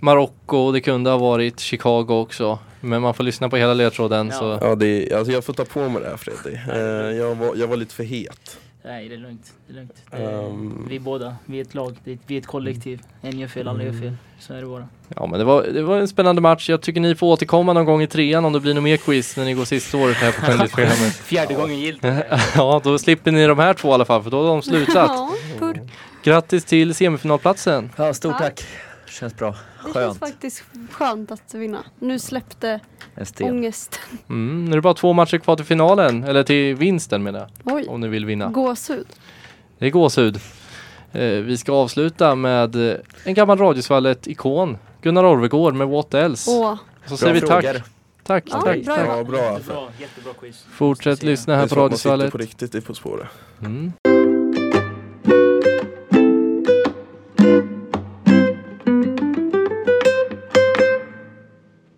B: Marocko och det kunde ha varit Chicago också. Men man får lyssna på hela ledtråden
E: Ja.
B: så.
F: Ja, det är, alltså jag får ta på mig det här Fredrik. Eh, jag, var, jag var lite för het.
E: Nej, det är lugnt. Det är lugnt. Det är,
F: Ehm,
E: Vi båda, vi är ett lag, det är ett- vi är ett kollektiv. En gör fel, alla gör
F: Mm.
E: fel. Så är det bara.
B: Ja men det var, det var en spännande match. Jag tycker ni får återkomma någon gång i trean om det blir något mer quiz när ni går sista året här på skönhetsprogrammet.
E: Fjärde gången gillt.
B: ja, då slipper ni de här två i alla fall för då har de slutat.
C: Ja, purk.
B: Grattis till semifinalplatsen.
D: Ja, stort
C: Tack.
D: tack. Känns bra.
C: Det känns
D: Skönt.
C: faktiskt skönt att vinna. Nu släppte
D: En sten.
C: ångesten.
B: Mm, nu är det bara två matcher kvar till finalen, eller till vinsten menar jag.
C: Oj,
B: Om ni vill vinna.
C: gåshud.
B: Det är gåshud. Eh, vi ska avsluta med eh, en gammal Radiosvallet-ikon. Gunnar Orvegård med What Else.
C: Åh,
B: Så säger vi tack.
D: frågor.
B: Tack,
C: Ja,
B: tack,
C: bra.
B: tack.
F: ja, bra.
E: Jättebra, jättebra quiz.
B: Fortsätt lyssna
F: Det
B: här
F: är
B: på
F: så att man sitter
B: Radiosvallet.
F: på riktigt i På spåret.
B: Mm.